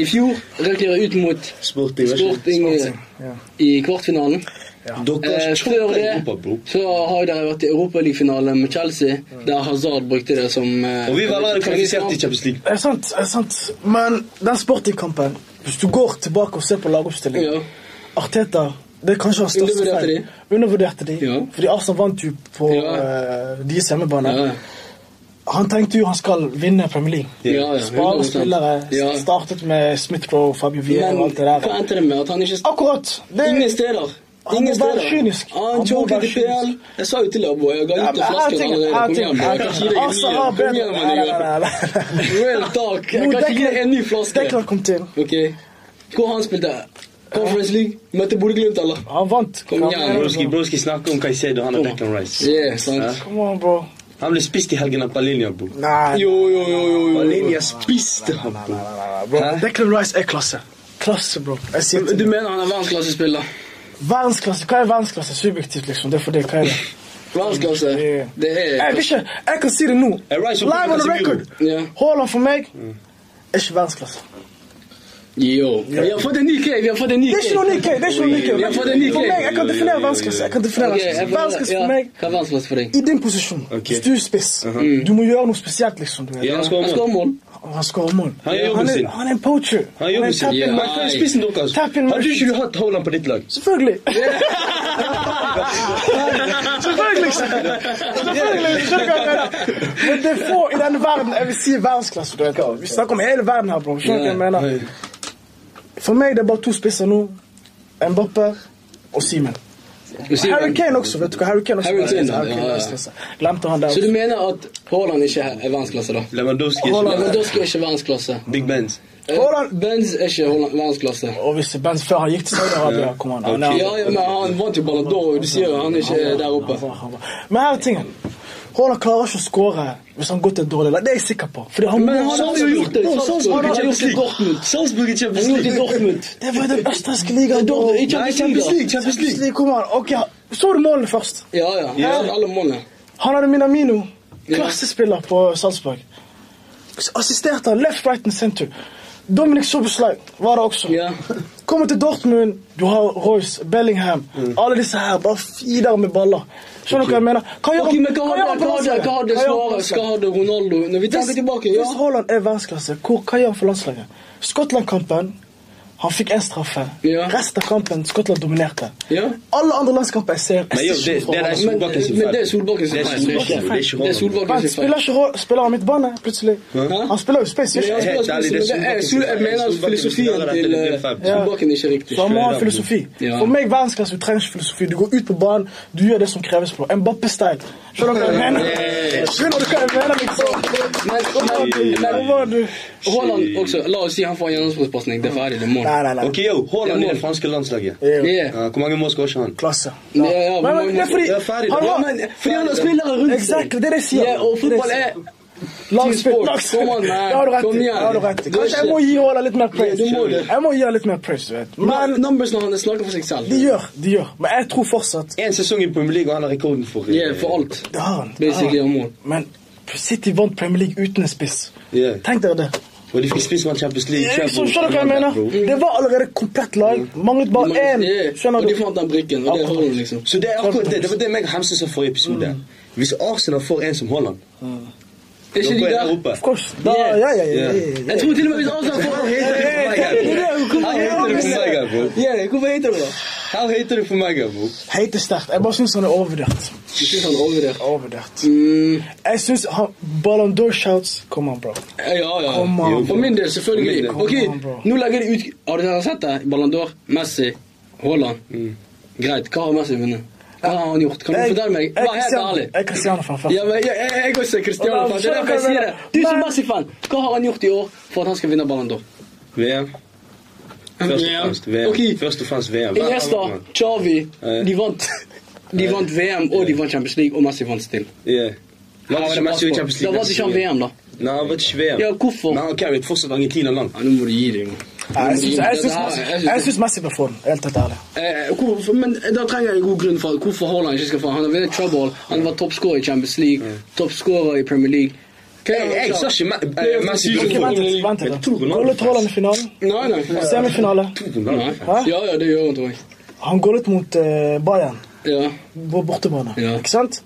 B: I fjor røk dere ut mot
A: Sporting, vær så god.
B: Sporting i,
C: Ja.
B: i kvartfinalen.
A: Dere
B: Eh,
A: har ikke
B: før
A: tatt
B: det
A: Europa, bror.
B: så har dere vært i Europaligafinale med Chelsea, der Hazard brukte det som eh,
A: Og vi var vel kvalifisert i
B: treningskamp.
A: Champions League.
C: Det er Eh, sant, det er sant. Men den sportingkampen Hvis du går tilbake og ser på lagoppstillingen
B: Ja.
C: Arteta det er kanskje hans største
B: Undervurderte
C: feil. Undervurderte de.
B: Ja.
C: Fordi Arsenal vant jo på
B: Ja.
C: eh, deres hjemmebane.
B: Ja,
C: Han tenkte jo han skal vinne Premier League.
B: ja, ja,
C: Spare
B: 100%.
C: spillere.
B: Ja.
C: Startet med Smith-Crow, Fabio Vieira
B: Men
C: og alt det der.
B: hva endte det med? At han ikke
C: Akkurat! Det
B: Ingen steder.
C: Han må
B: Ingen
C: være
B: steder.
C: kynisk. Han må
B: Han choker
C: være
B: til PL.
C: kynisk.
B: Jeg sa jo til deg, boy. Jeg ga
C: Ja,
B: ut
C: men
B: en
C: jeg
B: flaske
C: tenker-
B: allerede.
C: jeg
B: Kom igjen, boy. Jeg kan ikke gi
C: tenker-
B: deg
C: Arsenal
B: en
C: har
B: ny. eh, Kom
C: bedre
B: igjen,
C: Nei,
B: med
C: nei,
B: deg.
C: nei, nei.
B: Real talk.
C: Jo,
B: Jeg kan ikke gi deg en ny
C: Declan
B: flaske.
C: kom til.
B: Ok. Hvor han spilte? Conference League? Møtte Bodø-Glimt, eller?
C: Han vant.
B: Kom igjen,
C: Kom
A: Bror skal- Bror skal snakke om Caicedo, han og
B: Kom.
A: Declan Rice.
B: Yeah, sant.
C: Come on, bro.
A: Han ble spist i helgen av Palinja, bror.
C: Nei.
B: Jo, jo, jo, jo. jo.
A: Palinja spiste ham, bror.
C: Bro,
A: Hæ?
C: Declan Rice er klasse. Klasse, bro. Eh, Jeg sier til
B: Du
C: deg.
B: mener han er verdensklassespiller?
C: Verdensklasse. Hva er verdensklasse? Subjektivt, liksom. Det er for det. Hva er det?
B: Verdensklasse?
C: Yeah.
B: Det
C: Jeg,
B: er
C: vil ikke, jeg kan si det nå.
A: Er Rice oppe
C: Live
A: med
C: on the
A: Casemiro?
C: record.
B: Ja.
C: Haaland for meg er ikke verdensklasse.
B: Yo. Vi har fått en ny K. Vi har fått en ny
C: Det er ikke noe ny K. Det er ikke noe ny K.
B: Ja, for det er ny K.
C: For meg, jeg kan definere verdensklasse. Jeg kan definere
B: Ok, jeg
C: verdensklasse.
B: får-
C: Verdensklasse
B: ja.
C: for meg
B: Hva er verdensklasse for deg?
C: i din posisjon.
A: Ok.
C: Hvis du er spiss,
B: Uh-huh. Mm.
C: du må gjøre noe spesielt, liksom. Du vet.
A: Ja, han
B: Han
A: skårer
B: skårer
A: mål.
B: mål.
C: Og han skårer mål.
A: Han gjør jobben
C: er-
A: sin.
C: Han er en poacher.
A: Han gjør
C: er
A: jobben
C: en
A: sin.
C: tapping
B: Ja.
C: man.
A: Men for spissen deres,
C: Tap in
A: hadde
C: motion.
A: ikke du hatt Haaland på ditt lag?
C: Selvfølgelig. Selvfølgelig. Selvfølgelig. Skjønner du hva jeg mener? Men det er få i denne verden jeg vil si er verdensklasse. Du vet. Vi snakker om hele verden her, bro. Skjønner du hva jeg mener? For meg det er bare to spisser nå. Mbappé og Simen.
B: Du sier-
C: Harry Kane også, vet du hva. Harry Kane også.
B: Harry Kane,
C: verdensklasse.
B: ja,
C: Harry Kane
B: ja, ja.
C: verdensklasse. Glemte han der
B: Så du
C: også.
B: mener at Haaland ikke er verdensklasse, da?
A: Lewandowski er
C: Haaland.
A: ikke
B: Lewandowski er ikke verdensklasse.
A: Big Benz.
B: Eh,
C: Haaland.
B: Benz er ikke Haaland- verdensklasse.
C: Og hvis Benz før han gikk til Saudi-Arabia, kom han. han er-
B: Ja, ja, men han vant jo Ballon d'Or. Du sier jo han er ikke der oppe.
C: Men her er tingen. Haaland klarer ikke å skåre hvis han går til et dårlig lag. Det er jeg sikker på. Fordi han
B: Men han har jo gjort det.
A: Bror,
C: sånn
A: Salzburg
B: Han
A: er
B: har gjort
A: Champions
B: det i
A: League.
B: Dortmund.
A: Salzburg er Champions
B: Han har gjort det i
A: League.
B: Dortmund.
C: Det var den østerrikske ligaen. bro.
B: I Champions League, da.
A: League, Champions League.
C: Kom an. Ok, Så du målene først?
B: Ja, ja. Han har alle målene.
C: Han hadde Minamino. Klassespiller på Salzburg. Assisterte han left, right and center. Dominic Soboslaj var det også.
B: Ja.
C: Kommer til Dortmund, du har Royce, Bellingham Alle disse her bare fider med baller. Skjønner du hva jeg mener? Hva
B: Mm.
C: gjør
B: Ok,
C: han-
B: men hva
C: hva gjør
B: hadde
C: han
B: Kade,
C: på landslaget? Hva
B: Kade,
C: gjør han på
B: Svare,
C: landslaget?
B: Skade, Ronaldo Når vi tenker tilbake, ja.
C: Hvis Haaland er verdensklasse, hvor, hva gjør han for landslaget? Skottland-kampen, han fikk én straffe.
B: Ja.
C: Resten av kampen, Skottland dominerte.
B: Ja.
C: Alle andre landskamper jeg ser,
A: Men jo,
C: jeg ser
A: det-
C: ikke
A: det er
C: fra
A: det-
C: Haaland.
B: Men,
A: Solbakken sin feil.
B: men det er Solbakken sin
A: Det er
B: feil. Det er
A: Solbakken, det
B: ikke-
A: er ikke
B: Det er
A: Haaland.
B: Solbakken
C: Men
B: sin feil.
C: spiller ikke Haaland- spiller han midtbane, plutselig?
B: Hein
C: Han spiller jo space,
B: Men
C: ikke
B: jeg
C: sant?
A: Helt
B: spør-
A: ærlig, det er
B: men det er-
A: Solbakken sin feil.
B: Jeg mener at
A: Solbakken
B: filosofien
A: sin feil.
B: til eh,
A: Ja.
B: Solbakken er ikke riktig.
C: Så han må ha
A: Straight up,
C: filosofi.
B: Ja.
C: For meg verdensklasse, du trenger ikke filosofi. Du går ut på banen, du gjør det som kreves på. Mbappé-style. Skjønner du hva jeg mener?
A: Yeah.
C: Skjønner du hva jeg mener, liksom?
B: Men, men,
C: Hva
B: men
C: var du?
B: Haaland også, la oss si han får en gjennomsnittspasning. Det er ferdig, det er mål.
C: Nei, nei, nei.
A: Ok, yo, Haaland
B: Det
A: i
B: er
A: det franske landslaget.
C: Det er jo
B: Yeah.
A: Ja, Hvor mange mål skårer ikke han?
C: Klasse.
B: Ja, ja,
C: Men,
B: men-
C: men, det er fordi
B: euh,
A: Ja, ferdig,
C: han
A: da.
B: Ja,
C: har-
B: men fordi han har spillere rundt seg.
C: Exactly, det er det jeg sier.
B: Ja, og fotball
C: Det er
B: er
C: det Lagspill.
B: Teamsport.
C: lagspill.
B: Kom on, man.
C: Det har du rett
B: Kom
C: i.
B: igjen.
C: Det har du rett i.
B: Du er
C: Kanskje jeg
B: ikke-
C: må gi Haaland litt mer praise.
B: Du må det.
C: Jeg må gi han litt mer praise, du vet. Men
B: Men numbersene hans snakker for seg selv.
C: de gjør, de gjør. Men jeg tror fortsatt
A: En sesong i Premier League, og han har rekorden for eh,
B: Ja, for alt.
C: Det har han. Det har
B: Basically
C: han.
B: om mål.
C: Men City vant Premier League uten en spiss.
A: Ja.
C: Tenk dere det.
A: Og de fikk spissmann Champions League.
C: Jeg liksom,
A: Champions
C: skjønner du hva jeg mener?
A: League, bro.
C: Det var allerede komplett lag. Manglet bare
B: Ja,
C: én. Skjønner
B: Og de
C: du?
B: fant den brikken, og det
C: Akkurat.
B: holder liksom.
A: Mm. Så det er akkurat det. Det var det meg og Hamse sa forrige episode. Hvis Arsenal får en som Haaland
B: Is
A: Europa
B: die
A: en
B: daar?
A: Europa.
C: Of course. Da,
B: Ja.
C: ja, ja, ja. ja, ja, ja.
B: Jeg tror til og med hvis Arsenal får
A: How heter det
C: Hey, kom
A: for
C: igjen.
A: meg, bro?
B: Ja, hvorfor heter det det?
A: How heter det for meg, bro?
C: Heet is sterk. Jeg bare syns han er overvurdert.
B: Du syns han er overvurdert?
C: Overvurdert.
B: Mm,
C: Jeg syns han dus Ballon d'Or shouts Kom an, bro.
B: ja, ja.
C: Kom an,
B: oh, For min del, selvfølgelig.
A: Kom
C: an,
B: Ok,
C: bro.
B: nå legger de ut Har dere sett det? Ballon d'Or, Messi, Haaland.
A: Mm.
B: Greit. Hva har Messi vunnet? Hva har han gjort? Kan du
C: Jeg-
B: fortelle meg?
C: jeg-
B: Vær helt
C: Cristiano-
B: ærlig.
C: Jeg er Cristiano fra før.
B: Ja, men jeg, jeg, jeg også er Cristiano.
C: Og da
B: fan. Det er derfor jeg
C: skjønner
B: sier
C: jeg
B: det. Du som
C: Men-
B: Messi-fan, hva har han gjort i år for at han skal vinne Ballon d'Or?
A: VM. Først og
B: Ja.
A: fremst VM.
B: Ok.
A: Først og fremst VM. Hver
B: Iniesta,
A: annen mann.
B: Xavi,
A: Ja.
B: de vant. De vant VM, og de vant Champions League, og Messi vant still.
A: Ja. Var det
B: Ja,
A: ikke
B: men
A: Messi i Champions League
B: Da var det
A: neste
B: ikke
A: sesong?
B: han VM, da.
A: Nei, han var ikke VM.
B: Ja, hvorfor?
A: Men han carried fortsatt Argentina langt.
B: Ja, nå må du gi deg, mann.
C: Ja, Jeg syns- jeg syns
B: Dette her-
C: Messi-
B: jeg
C: jeg
B: syns-
C: syns dus Messi bør få den, helt helt ærlig.
B: Eh, hvorfor- Men da trenger jeg en god grunn for at hvorfor Haaland ikke skal få Han har vunnet trouble, han var toppskårer i Champions League, toppskårer i Premier League. Hva er
A: Jeg,
B: det han
A: jeg
B: sa?
A: sa ikke Me-
B: Det er
A: eh, Messi.
B: jo
C: Ok,
B: for-
C: Vent litt. vent
A: Jeg tror
C: litt.
A: Ronaldo
C: Gullet Haaland i finalen.
B: Nei, nei.
C: Semifinale.
A: Ronaldo.
B: nei. Ja, ja, det gjør han, tror jeg.
C: Han gullet mot eh, Bayern.
B: Ja.
C: på bortebane.
B: Ja.
C: Ikke sant?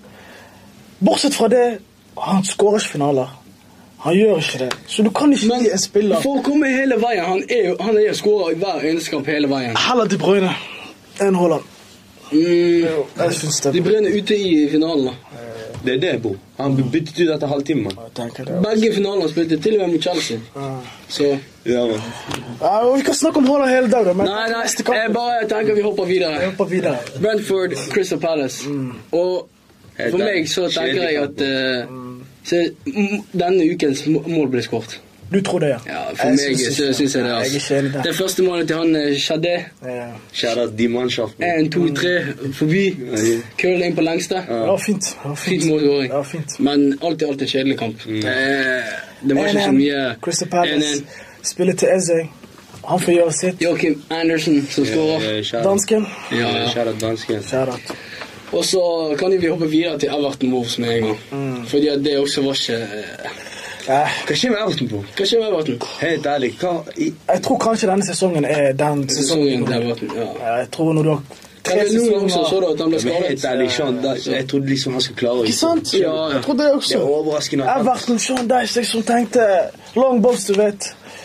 C: Bortsett fra det, han skårer ikke finaler. Han gjør ikke det. Så du kan ikke
B: Men
C: gi en spiller
B: for å komme hele veien Han er jo han er jo skårer i hver eneste kamp hele veien.
C: heller De Bruyne enn Haaland.
B: Mm,
C: Jeg syns det.
B: de brenner ute i finalen. da
A: Det er det, bro. Han ble byttet ut etter halvtime, mann.
C: Jeg tenker det.
B: Begge finalene spilte, til og med mot Chelsea.
C: Ah.
B: Så
A: Ja, man.
C: Ja, og vi kan snakke om Haaland hele dagen, men
B: Nei, nei,
C: neste kamp
B: jeg bare tenker vi hopper
C: Vi
B: videre.
C: hopper videre.
B: Brentford, Crystal Palace. Og
A: Helt
B: for meg
A: ærlig,
B: så tenker
A: kjedelig
B: jeg
A: kamp,
B: at eh, så, m- denne ukens må- mål ble skåret.
C: Du tror det, ja?
B: Ja, for meg så syns jeg det.
C: Jeg er ikke enig
B: altså
C: der.
B: Det første målet til han eh, skjedde.
C: Ja.
A: Kjære de mannskap, bro.
B: Én, to, tre, forbi.
A: Ja.
B: Curl inn på lengste.
C: Det var fint. Det var
B: Fint målskåring.
C: Ja, fint.
B: Men alt i alt en kjedelig kamp. Eh, det var ikke så mye
C: 1-1. Crystal Palace
B: 1-1.
C: spiller til Ezey. Han får gjøre sitt.
B: Joakim Andersen som skårer.
A: Eh, kjære-
C: Dansken.
B: Ja,
A: Eh,
B: ja.
A: Kjære dansken.
C: Kjære. at-
B: Og så kan vi hoppe videre til Everton Wolves med en gang.
C: Mm.
B: Fordi at det også var ikke eh,
C: Ja.
A: Hva skjer med Everton, bro?
B: Hva skjer med Everton?
A: Helt ærlig, hva i
C: Jeg tror kanskje denne sesongen er den
B: Sesongen til Everton, ja.
C: Ja, Jeg tror når du har
B: Kan
C: tre
B: det nå også så
C: sesonger
B: du at han ble
A: Men helt
B: skadet?
A: ærlig, Sean, da, jeg trodde liksom han skulle klare å-
C: Ikke sant?
B: Ja, ja.
C: Jeg trodde det
A: Det er
C: også.
A: overraskende. at han-
C: Everton, Sean Dyche, jeg som tenkte Long balls, du vet.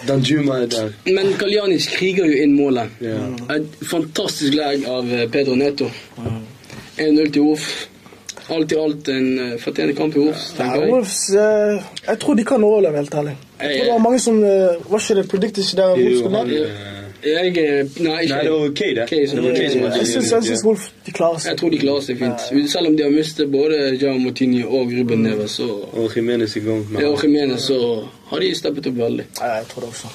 A: Danjuma er der.
B: Men Kaljanic kriger jo inn målet.
A: Ja.
B: Et fantastisk lag av eh, Pedro Neto. 1-0 til Wolf. Alt i alt en eh, fortjent kamp i Wolf,
C: Ja,
B: tenker jeg.
C: Wolves, eh, jeg tror de kan overleve, helt ærlig. Jeg tror det var mange som eh, var ikke det predicted ikke der Wolves
A: Jo,
C: skulle
A: han,
C: være.
A: eh,
B: Jeg eh, Nei, ikke
A: Nei, det var OK, det.
B: Case,
A: Det var Case som var
C: Eh, Jeg syns jeg synes Wolf de klarer
B: Jeg
C: seg.
B: tror de klarer seg fint. Selv om de har mistet både Jao Martini og Ruben Neves og,
A: Og Jimenez i gang med
B: og Jimenez, så har de steppet opp veldig.
C: Ja, jeg tror det også.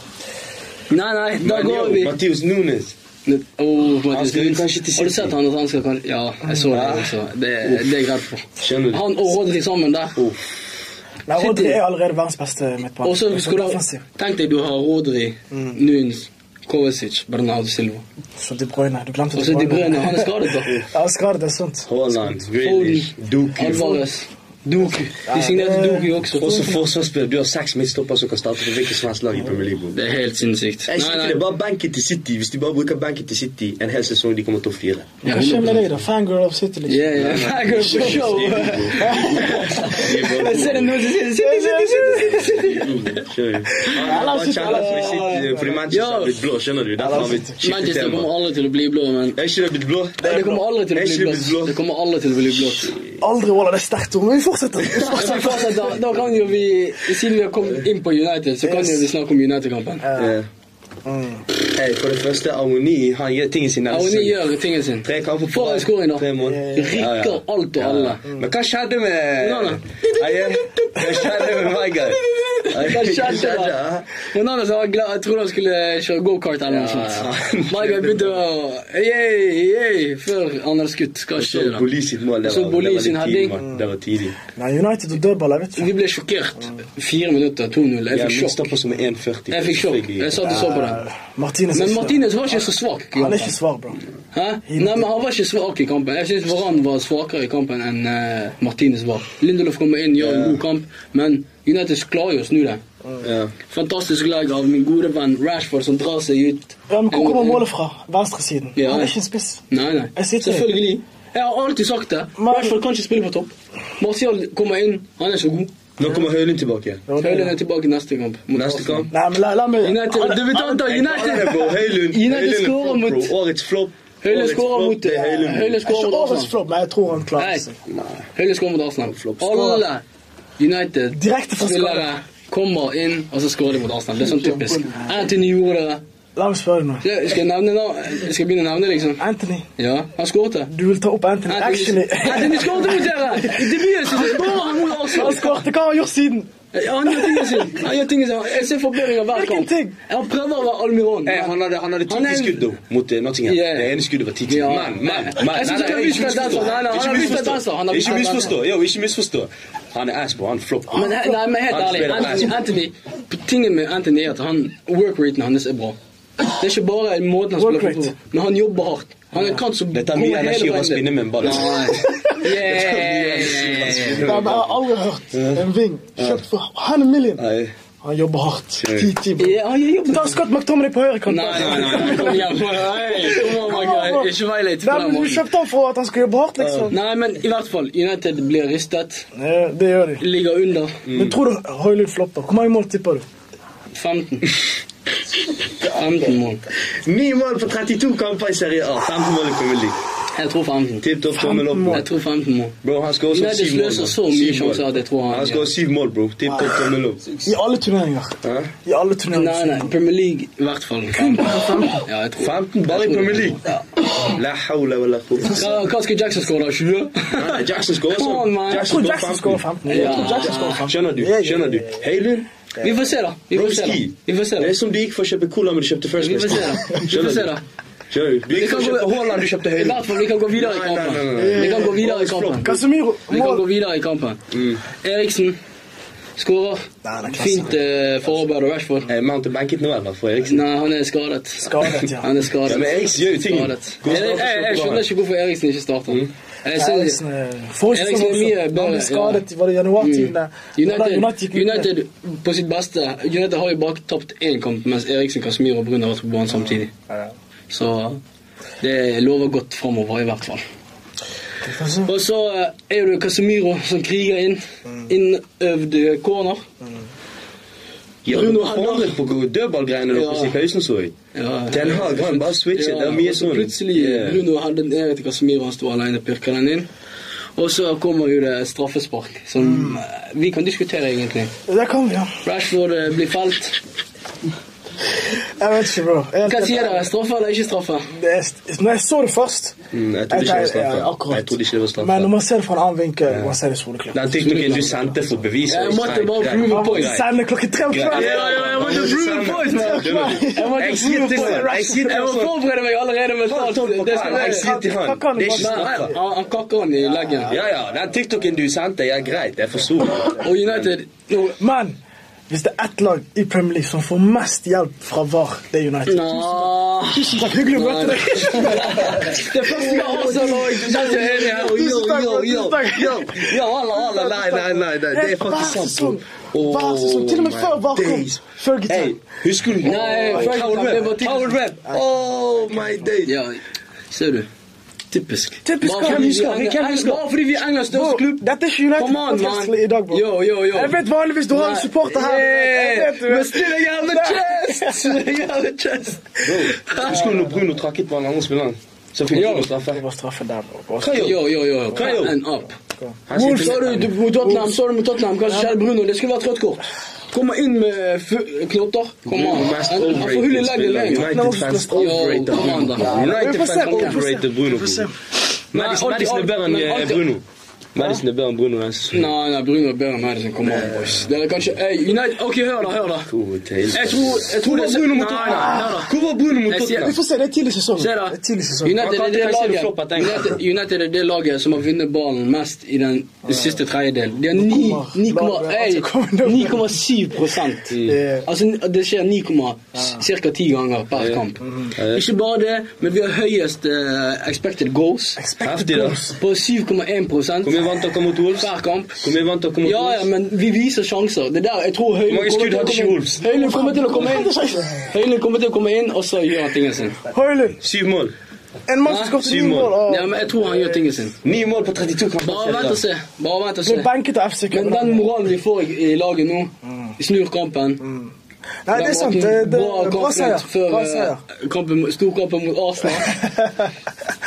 B: Nei, nei, da
A: Men
B: går
A: jo,
B: vi
A: Matheus Nunes.
B: oh,
A: Han
B: Mathias,
A: skal jo kanskje til
B: Har du
A: City.
B: sett han at han skal kanskje Ja, jeg så det også. Det, det er jeg redd for.
A: Skjønner du?
B: Han og Rodri sammen der.
C: Nei,
B: City-
C: Rodri er allerede verdens beste midtbane.
B: Og så
C: Det er
B: skulle
C: offensiv.
B: du Tenk deg du har Rodri, Nunes, Kovacic, Bernardo Silva.
C: Så De Bruyne. Du glemte
B: Og så De Bruyne. Han er skadet, da.
C: Ja, skadet, det er sant.
A: Haaland, Grealish, Doku.
B: Alvarez. Doku. De signerte
C: det-
B: Doku også.
A: Også forsvarsspiller. Du har seks midtstoppere som kan starte på hvilket som helst lag i Premier League. bro.
B: Det er helt sinnssykt.
A: Jeg synes ikke det er bare benken til City. Hvis de bare bruker benken til City en hel sesong, de kommer topp fire.
B: Ja,
C: Hva skjer med deg, da? Fangirl of City, liksom.
B: Yeah, yeah. I go for show. Jeg ser det nå, så sier det, sitt, sitt, sitt, sitt, sitt.
A: Han bare kjenner for City, fordi Manchester er blitt blå, skjønner du. Derfor har vi skiftet
B: Manchester
A: tema.
B: kommer aldri til å bli blå, men
A: Er ikke det blitt blå?
B: Nei, Det kommer aldri til å
A: Er ikke det
B: bli
A: blitt blå?
B: blått. Det kommer aldri til å bli blått.
C: Aldri Walla, det er sterkt ord, men vi fortsetter. Vi
B: Ja, men
C: fortsetter.
B: fortsatt, Da, da kan jo vi, siden vi har kommet inn på United, så kan jo vi snakke om United-kampen.
A: Ja. Hey, for det første, Armoni han gjør tingene sine.
B: Aoni gjør tingen sin.
A: Tre kamper på
B: Får en scoring, da.
A: Tre mål.
B: Rikker alt og alle.
A: Men hva skjedde med
B: Onana.
A: Aie,
B: eh.
A: Hva skjedde med meg, guy? Aie,
B: Hva skjedde da?
A: hæ?
B: Ronaldo sa han glad, jeg trodde han skulle kjøre go-kart eller noe
A: Ja.
B: sånt. Mike begynte å Yay, yay, før han hadde skutt. Hva
A: Så
B: skjer da?
A: Boli sitt mål, det
B: Så
A: var, det var
B: Boli
A: litt
B: sin
A: tidlig,
B: heading.
A: mann. Det var tidlig.
C: Nei, United og dødball, jeg vet
B: Vi
C: ikke.
B: ble sjokkert. Fire minutter, 2-0. Jeg
A: Jeg
B: fikk sjokk.
A: midtstopper som er 1,40.
B: Jeg fikk sjokk. Jeg satt og så på den.
C: Martinez er
B: Men
C: ikke-
B: Martinez var ikke så svak. i
C: Han er ikke
B: kampen.
C: svar, bro.
B: Hæ? Nei, men Han var ikke svak i kampen. Jeg syns Varan var svakere i kampen enn eh, Martinez var. Lindelof kommer inn, gjør en god kamp, men United klarer jo å snu det.
A: Ja.
B: Fantastisk lag av min gode venn Rashford som drar seg ut.
C: Ja, men hvor kommer målet fra? Venstresiden.
B: Ja.
C: Han er ikke en spiss.
B: Nei, nei.
C: Jeg sitter-
B: Selvfølgelig. Jeg har alltid sagt det.
C: Men-
B: Rashford kan ikke spille på topp. Martial kommer inn, han er så god.
A: Nå kommer Høylund tilbake igjen.
B: Høylund er tilbake neste kamp. mot
A: Neste
B: Arsenal.
A: kamp.
C: Nei, men la, la meg
B: United,
C: Alle-
B: debutanter,
A: Jeg kaller
B: United!
A: det, bro. Høylund
B: United
A: Høylund er
B: scorer
A: flop, bro.
B: mot-
A: Årets flop.
B: Høylund
A: Årets
B: scorer
A: flop,
B: mot-
A: det er Høylund.
B: Høylund
C: Ikke
B: scorer mot
C: årets
B: Arsenal.
C: flop, men jeg tror han klarer seg.
A: Nei.
B: Høylund scorer mot Arsenal.
A: Flop.
B: Alle United
C: Direkte fra
B: spillere
C: skade.
B: kommer inn, og så skårer de mot Arsenal. Det er sånn typisk. Anthony gjorde det.
C: La meg spørre deg nå.
B: Ja, Skal jeg, nevne, navn- jeg skal begynne å nevne, liksom.
C: Anthony,
B: Ja, han skårte.
C: du vil ta opp Anthony.
B: Anthony-
C: Actually
B: Anthony skårte mot dere! I debuten så skårer han mot
C: Han
B: Arsenal.
C: skårte. Hva har han gjort siden?
B: Ja, Han gjør tingene sine. Han gjør tingene sine. Jeg ser forbedringer hver
C: Hvilken
B: kamp.
C: ting?
B: Han prøver å være Almiron.
A: Eh, han hadde, han hadde ti
B: Han er-
A: skudd da, mot eh, Nottingham.
B: Ja.
A: Det ene skuddet var ti
B: Ja.
A: Men, men, men
B: Jeg synes
A: nei, nei,
B: ikke han
A: ikke
B: viser
A: misforstå.
B: danser. Nei, nei, han har
A: Ikke
B: vist
A: misforstå.
B: danser. Han har vist
A: Ikke
B: danser.
A: misforstå. Jo, ikke misforstå. Han er ass, bro. Han er flop.
B: Men, he- nei, men helt
A: Han
B: ærlig,
A: spiller
B: Anthony,
A: ass.
B: Anthony, tingen med Anthony er at han, work-raten hans er bra. Det er ikke bare måten han spiller
C: Work rate.
B: fotball på, men han jobber hardt. Han er en kant som
A: Det tar
B: går
A: mye
B: hele
A: energi å bare
B: veien dit.
A: spinne med en ball.
B: Nei. Yeah.
C: Jeg har aldri hørt en wing kjøpt for 100 million.
A: Nei.
C: Han jobber hardt. Ti timer.
B: Ja, han jobber
C: Ta Scott McTominay på altså. høyre kant.
B: Nei, nei, nei, kom hjem. Nei, kom on, my guy. Ikke vei litt på
C: Nei,
B: den
C: men Du
B: måten.
C: kjøpte han for at han skulle jobbe hardt, liksom.
B: Nei, men i hvert fall, United blir ristet,
C: Nei, det gjør de.
B: ligger under
C: Men tror du Høylund flopper? Hvor mange mål tipper du?
B: 15. 15 mål.
A: Ni mål på 32 kamper i Serie A. 15 mål i Premier League.
B: Jeg tror 15.
A: Tipp topp, tommel opp.
B: Jeg tror 15 mål.
A: Bro, han skårer sånn
B: United
A: syv mål.
B: sløser
A: bro.
B: så mye
A: Syv mål.
B: sjanser at jeg tror han-
A: Han skårer syv mål, bro. Tipp topp, tommel opp.
C: I alle turneringer.
B: Ah,
A: Hæ?
C: I alle turneringer.
B: Nei, nei, Premier League i hvert fall. Ja, jeg tror.
A: 15 bare i Premier League. La hawla wala quwwata.
B: Hva, hva skal Jackson skåre? da? 20?
A: Nei, Jackson skårer
B: Come on,
A: sånn.
B: man.
C: Jeg tror Jackson
A: Jackson
C: skårer
A: skårer 15.
C: 15. Jeg tror Jackson skårer 15.
A: Skjønner du?
C: Ja, ja,
A: Skjønner du? Høylund
B: Vi får se, da. Vi får se, da.
A: Broski.
B: Vi får se, da.
A: Det er som du gikk for å kjøpe cola, men du kjøpte First
B: Vi får se, da. Vi får se, da.
A: Skjønner du? Du
B: Vi
A: gikk
B: kan
A: for å kjøpe Haaland, du kjøpte
B: I
A: Høylund.
B: hvert fall, vi kan gå videre i
A: Nei,
B: kampen.
A: nei, nei, nei.
B: Vi kan gå videre i
A: Årets
B: kampen.
A: flop.
C: Casemiro,
B: Vi kan gå
C: mål.
B: videre i kampen.
A: Mm.
B: Eriksen skårer.
C: Nei, det er klasse.
B: Fint eh, forarbeid av Rashford. Nou,
A: Er Mount banket nå, eller? For Eriksen?
B: Nei, han er skadet.
C: Skadet, ja.
B: Han er skadet.
A: Ja, men Eriksen gjør jo ting.
B: Skadet.
A: God
B: Jeg,
A: start
B: jeg,
A: for
B: jeg skjønner ikke hvorfor Eriksen ikke starter.
A: Mm.
B: Jeg synes-
C: Eriksen eh, er forrige
B: Eriksen er
C: sesong
B: mye
C: også. Han
B: bedre, Mm.
C: ble skadet i var det januar tiden der.
B: United,
C: United gikk ut med-
B: United på sitt beste United har jo bare tapt én kamp, mens Eriksen, Casemiro og Brun har vært på banen samtidig. Så det lover godt framover, i hvert fall. Og så eh, er det jo Casemiro som kriger inn.
A: Mm.
B: Innøvd eh, corner.
A: Ja,
B: Bruno
A: Bruno
B: Haaland.
A: forandret på dødballgreiene deres
B: Ja.
A: i pausen, så jeg.
B: Ja,
A: Den har han bare switchet. Det er mye
B: og så
A: sånn.
B: Plutselig
A: Ja.
B: Bruno hadde den ned til Casemiro, han sto alene og pirka den inn. Og så kommer jo det straffespark, som
A: Mm.
B: eh, vi kan diskutere, egentlig.
C: Der kom vi, ja.
B: Rashford eh, blir felt.
C: Jeg vet ikke, bro. Jeg-
B: Hva sier dere? Straffe eller ikke straffe?
C: Det er- Når jeg så det først
A: Mm, jeg trodde ikke det var straffe.
C: Ja, akkurat.
A: Jeg trodde ikke det var straffe.
C: Men når man ser det fra en annen vinkel, man ser det soleklart.
B: Nou,
A: Den teknikken du sendte for bevis
B: Jeg måtte
A: Greit,
B: bare
A: greit,
B: prove
A: greit.
B: a point.
C: Sender klokken tre om
A: Greit.
C: kvelden.
B: ja, jeg måtte prove a point, man.
A: Skjønner du?
B: Jeg måtte
A: Jeg sier
B: prove
A: til
B: a point.
A: han, jeg sier til
B: Jeg må
A: han,
B: forberede meg allerede mentalt. Det skal
A: Jeg
B: jeg.
A: sier til han, det er ikke
B: Nei,
A: straffe.
B: han- Han kakker han i leggen.
A: Ja, ja, den TikToken du sendte, ja, greit, jeg forsto.
B: Og Oh, United nå,
C: Men hvis det er ett lag i Premier League som får mest hjelp fra VAR, det er United.
B: Nå.
C: Tusen takk, hyggelig
B: Nou,
C: å møte deg.
B: Det er første gang Arsenal og United er enige her.
A: Yo, yo, yo,
C: Tusen takk.
A: yo. Ja, alle, alle, nei, nei, nei, nei, det er faktisk
C: Hver
A: sant. bro.
C: sesong. Hver sesong. Til og med
A: Oh,
C: før VAR kom.
A: days. Hey,
C: Fergie.
A: husker du?
B: Nei, Fergie,
A: Howard
B: det
A: Webb,
B: var typisk.
A: Howard Webb. Oh my days.
B: Ja, ser du. Typisk.
C: Typisk
B: Bare fordi
C: hvem husker,
B: vi er
C: hvem
B: Eng-
C: husker?
B: Bare fordi vi er Englands største klubb.
C: Dette er ikke United
B: Come on,
C: podcast
B: man.
C: i dag, bro.
B: Yo, yo, yo.
C: Jeg vet vanligvis du har en
B: Nei.
C: supporter her. Jeg
B: Yeah.
C: vet du.
B: Men still, jeg har the chest! Jeg har the chest.
A: Bro, husker du når Bruno trakket på den andre spilleren? Så fikk
B: Ja.
A: han straffe.
C: Det var straffe der, bro.
A: Hva gjør
B: Yo, yo, yo.
A: Hva gjør?
B: And up.
A: Han sier
B: Wolf,
A: til-
B: så du du- mot Tottenham, så du mot Tottenham, kanskje skjer Bruno, det skulle vært rødt kort. Kommer inn med f- knotter. Kom an.
A: Bruno, mest
B: Han han får hull i
A: overrated
B: leggen
A: spiller.
B: lenger.
A: United fans
C: Yo,
A: overrated
B: come on,
A: Bruno.
B: da.
C: Vi
A: United
C: får se,
A: fans
C: vi får se.
A: overrated Bruno.
C: Vi får se.
A: bro. Madison
B: Nei,
A: Madison er
B: alltid-
A: bedre enn eh,
B: alltid-
A: Bruno. Madison er bedre enn Bruno. jeg synes.
B: Nei, nei, Bruno Bjørn Madison, kom an, boys. Dere kan ikke Ey, United, OK, hør da, hør da.
A: God tale.
B: Jeg tror, jeg tror
A: Hvor
B: det
A: var Bruno mot
B: Nei, nei, hør
A: Tottenham?
B: da.
A: Hvor var Bruno mot
B: Jeg sier-
A: Tottenham?
C: Vi får se, det er tidlig i sesongen.
B: Se da.
C: Det er tidlig i sesongen.
B: United
A: Man
B: er,
A: kan
B: det
A: ikke si det
B: laget,
A: flopp at den-
B: United, United er det laget som har vunnet ballen mest i den siste tredjedel. De har ni-
C: Kommer.
B: 9,7
C: Laget, altså, kommer det-
B: ey, 9,7 prosent.
C: Yeah.
B: Altså, det skjer 9, ca. 10 ganger per kamp.
C: Mhm.
B: Ikke bare det, men vi har høyest eh, expected goals
A: Heftig, da.
B: på 7,1 prosent
A: Hvor mye vant dere mot Wolves?
B: hver kamp.
A: Hvor mye vant dere mot
B: Ja, ja,
A: Wolves?
B: men vi viser sjanser. Det er der jeg tror Høylund
A: mange
B: kommer,
A: skudd
B: til å
A: hadde
B: komme
A: ikke
B: inn.
A: Wolves?
B: Høylund kommer til å komme inn. Høylund kommer til å komme inn, og så gjør han tingene sine.
C: Høylund,
A: Syv mål.
C: En man som skåret
A: Syv
C: ni
A: mål.
C: mål og
B: Ja, men jeg tror han gjør tingen sin.
A: Ni mål på 32
B: Bare vent og
A: kamper.
B: se. Bare vent og
C: ble
B: se.
C: banket av FC
B: Men den
C: København.
B: moralen de får i i laget nå,
A: Mm.
B: de snur kampen.
C: Nei, det er sant. Det, det,
B: bra kamp
C: bra seier.
B: mot- før,
C: Bra
B: eh,
C: seier.
B: kampen- Storkampen mot Arsenal.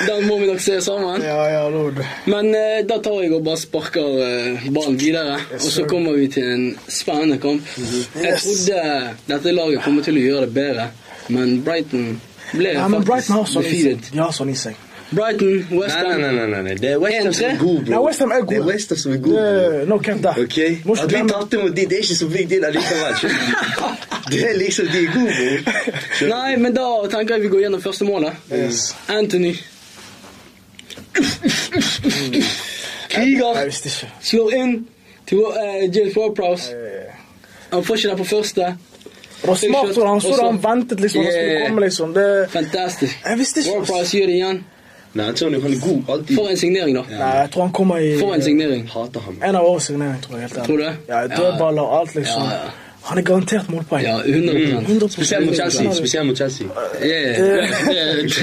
B: Den må vi nok se sammen.
C: Ja, ja, Lord.
B: Men eh, da tar jeg og bare sparker eh, ballen videre.
C: Yes,
B: og så
C: sir.
B: kommer vi til en spennende kamp.
A: Mhm.
B: Jeg
C: Yes.
B: trodde dette laget kommer til å gjøre det bedre, men Brighton ble
C: Ja, men
B: faktisk
C: Brighton har sånn i seg.
B: defeated.
C: De har sånn i seg.
B: Brighton, West
A: Nei,
B: Ham
A: nei, nei, nei, nei, nei. Det er West Ham som er
B: 1-3.
A: god, bro.
C: Nei, West Ham er
A: Det er
C: gode.
A: West Ham som er god. bro.
C: Det- No cap der.
A: Ok?
C: Må ikke
A: At vi
C: glemme
A: tapte mot de, det er ikke så big deal allikevel. skjønner du? Det er liksom de er gode, bro. Skjønner
B: Nei, men da tenker jeg vi går gjennom første målet.
C: Yes.
B: Anthony.
C: Jeg
B: Kriger
C: visste ikke.
B: slår inn til eh, James Ward-Prowse.
C: Eh,
B: Han får ikke den på første.
C: Det var smart, og han så det, han ventet liksom. Han skulle
B: Yeah.
C: komme, liksom. Det,
B: Fantastisk.
C: jeg visste ikke. ass.
B: Ward-Prowse gjør det igjen.
A: du? Nei, Antonio, han er god alltid.
B: For en signering, da.
C: Nei, jeg tror han kommer i
B: For en signering.
A: Hater ham.
C: En av årets signering, tror jeg. helt ærlig.
B: Tror du det?
C: Ja, Dødballer og alt, liksom.
B: Ja, ja.
C: Han er garantert målpoeng.
B: Ja,
C: Mm.
B: 100
C: 100%.
A: Spesielt mot Chelsea. Spesielt mot Chelsea.
C: Eh.
B: Yeah. Det-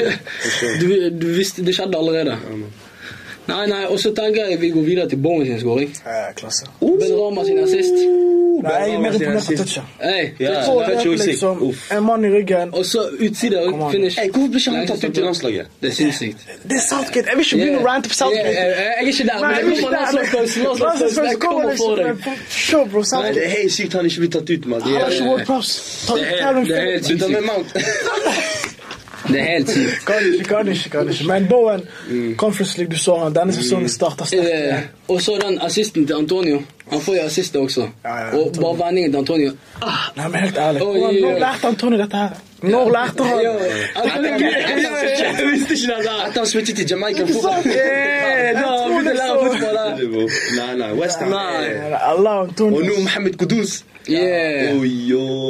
B: du, du visste, Det skjedde allerede. Nei, nei, og så tenker jeg vi går videre til Bowen sin scoring.
C: Eh, klasse.
B: Ben Rama sin assist.
C: Nei, jeg er mer imponert av
A: touch.
C: Tutsja.
B: Hey.
A: Ja,
C: Få
A: det er
C: det,
A: ikke usikt.
C: liksom,
A: Uff.
C: en mann i ryggen.
B: Og så utsider
C: Kom an.
B: og finish.
A: Hey, hvorfor blir ikke han tatt ut i landslaget?
B: Det er sinnssykt.
C: Det er Southgate. Jeg vil ikke begynne å rante på Southgate. e
B: Yeah, jeg, jeg er ikke der.
C: Nei, jeg
B: Men jeg
C: vil ikke
B: kommer
C: det.
B: landslagspausen. Landslagspausen,
C: Landslagsfølelse
B: jeg kommer for
C: kommer,
B: deg.
C: liksom. Show, bro.
A: Nei, det
C: Southgate.
A: er helt sykt han ikke blir tatt ut, mann.
C: Han har ikke
A: er-
C: World Props. Ta
B: Det er-
A: euh,
C: Calvin
B: det er
C: Phillips.
B: helt
A: Slutt med Mount.
B: Det er helt sykt.
C: Kan ikke, kan ikke, kan ikke. Men Bowen, Conference League, du så han. Denne sesongen starter sterkt.
B: Eh, Og så den assisten til Antonio. Han får jo assist Oh, også.
C: Ja, ja,
B: Og bare vendingen til Antonio.
C: Nei, men helt ærlig.
B: Oi,
C: Hvordan- Når
B: oi.
C: lærte han Tony dette her? Når lærte han?
B: Yo, Antonio, Jeg visste ikke det der.
A: At han switchet til Jamaica
C: Ikke sant?
B: Eh, Da
C: Jeg tror
B: begynte jeg å lære
C: liksom-
B: fotball der.
A: Nei, nei, West Ham.
B: Nei.
A: eh,
C: Allah, Tony.
A: Og nå Mohammed Kudus.
B: Yeah.
A: Oi,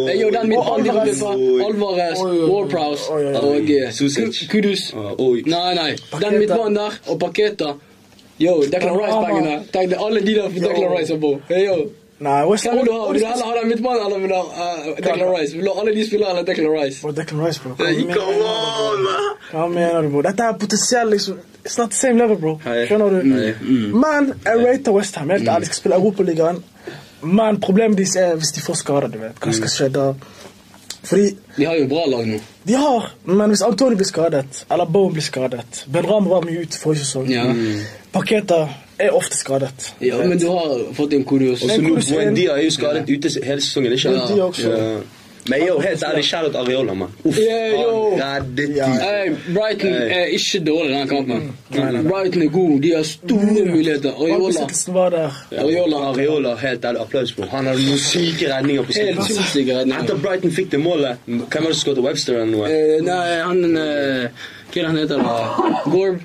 B: Jeg gjorde den
A: oi.
B: mitt ball de
C: Alvarez.
B: ble fra Alvarez,
C: Oi, oi, oi.
B: Warprouse
C: Oi, oi,
B: og eh,
A: Susic.
B: Ku- Kudus.
A: Ah, Oi.
B: Nei, nei. Den
C: Paqueta.
B: midtbanen der og Paketa. Yo, Declan
C: Panorama.
B: Rice-bagen der. Tenk deg alle de der for Declan Rice er på. Hey, yo.
C: Nei, West
B: Hvem vil du ha? Vil du heller ha den midtbanen eller vil du ha eh, Declan Rice? Vil du ha alle de spillere eller Declan Rice?
C: Bro, Declan Rice, bro. Hva
B: Hey,
C: mener
B: come
C: du?
B: on, man.
C: Hva mener du, bro? Dette er potensiell, liksom. It's not the same level, bro.
A: Hei.
C: Skjønner du?
A: Hei.
C: Men jeg rater Westham. Helt ærlig, skal spille Europaligaen. Men problemet deres er hvis de får skader, du vet. Hva skal skje da? Fordi
B: De har jo bra lag nå.
C: de har, men hvis Antoni blir skadet, eller Bowen blir skadet Ben Ramo var mye ute forrige sesong.
B: Ja.
C: Paketa er ofte skadet.
B: ja, men du har fått inn Kudus.
A: Og så
C: Men
A: nå
C: hvordan-
A: Buendia er jo skadet ute se- hele sesongen, ikke sant?
C: Ja, de også.
A: Ja. Men yo, helt ærlig, shout-out Areola, Oh, mann. Uff.
B: Yeah, yo.
A: han reddet de.
C: Ja.
B: Hey, Brighton
A: Hey.
B: er ikke dårlig denne kampen. Brighton er god. De har store muligheter. Areola
C: Bakbesettelsen var der.
A: Areola, Areola, helt ærlig, applaus, bro. Han hadde noen syke redninger på
B: Helt
A: slutten.
B: sinnssyke redninger.
A: Etter Brighton uh, fikk det målet Hvem var det som skåret Webster uh, eller noe?
B: Eh, nei, han eh, Hva er det han heter? da? Gorb?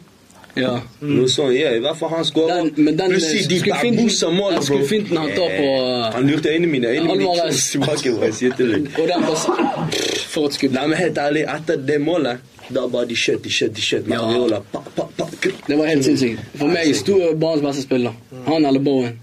B: Ja.
A: Noe sånt, ja, I hvert fall han skåret.
B: Mm. Den, men den eh,
A: Plutselig de
B: skufffinten-
A: Barbosa-målet,
B: den
A: bro.
B: skufffinten han tar på
A: Eh, Han lurte øynene mine. Øynene mine gikk
B: Alvarez.
A: sånn tilbake, bro. Jeg sier til deg.
B: eh, Og den bare For et skudd.
A: Nei, men helt ærlig, etter det målet Da bare de skjøt, de skjøt, de skjøt med
B: Ja.
A: Areola. Pa, pa, pa, kr-
B: Det var helt sinnssykt. For meg stor banens beste spiller. Han eller Bowen.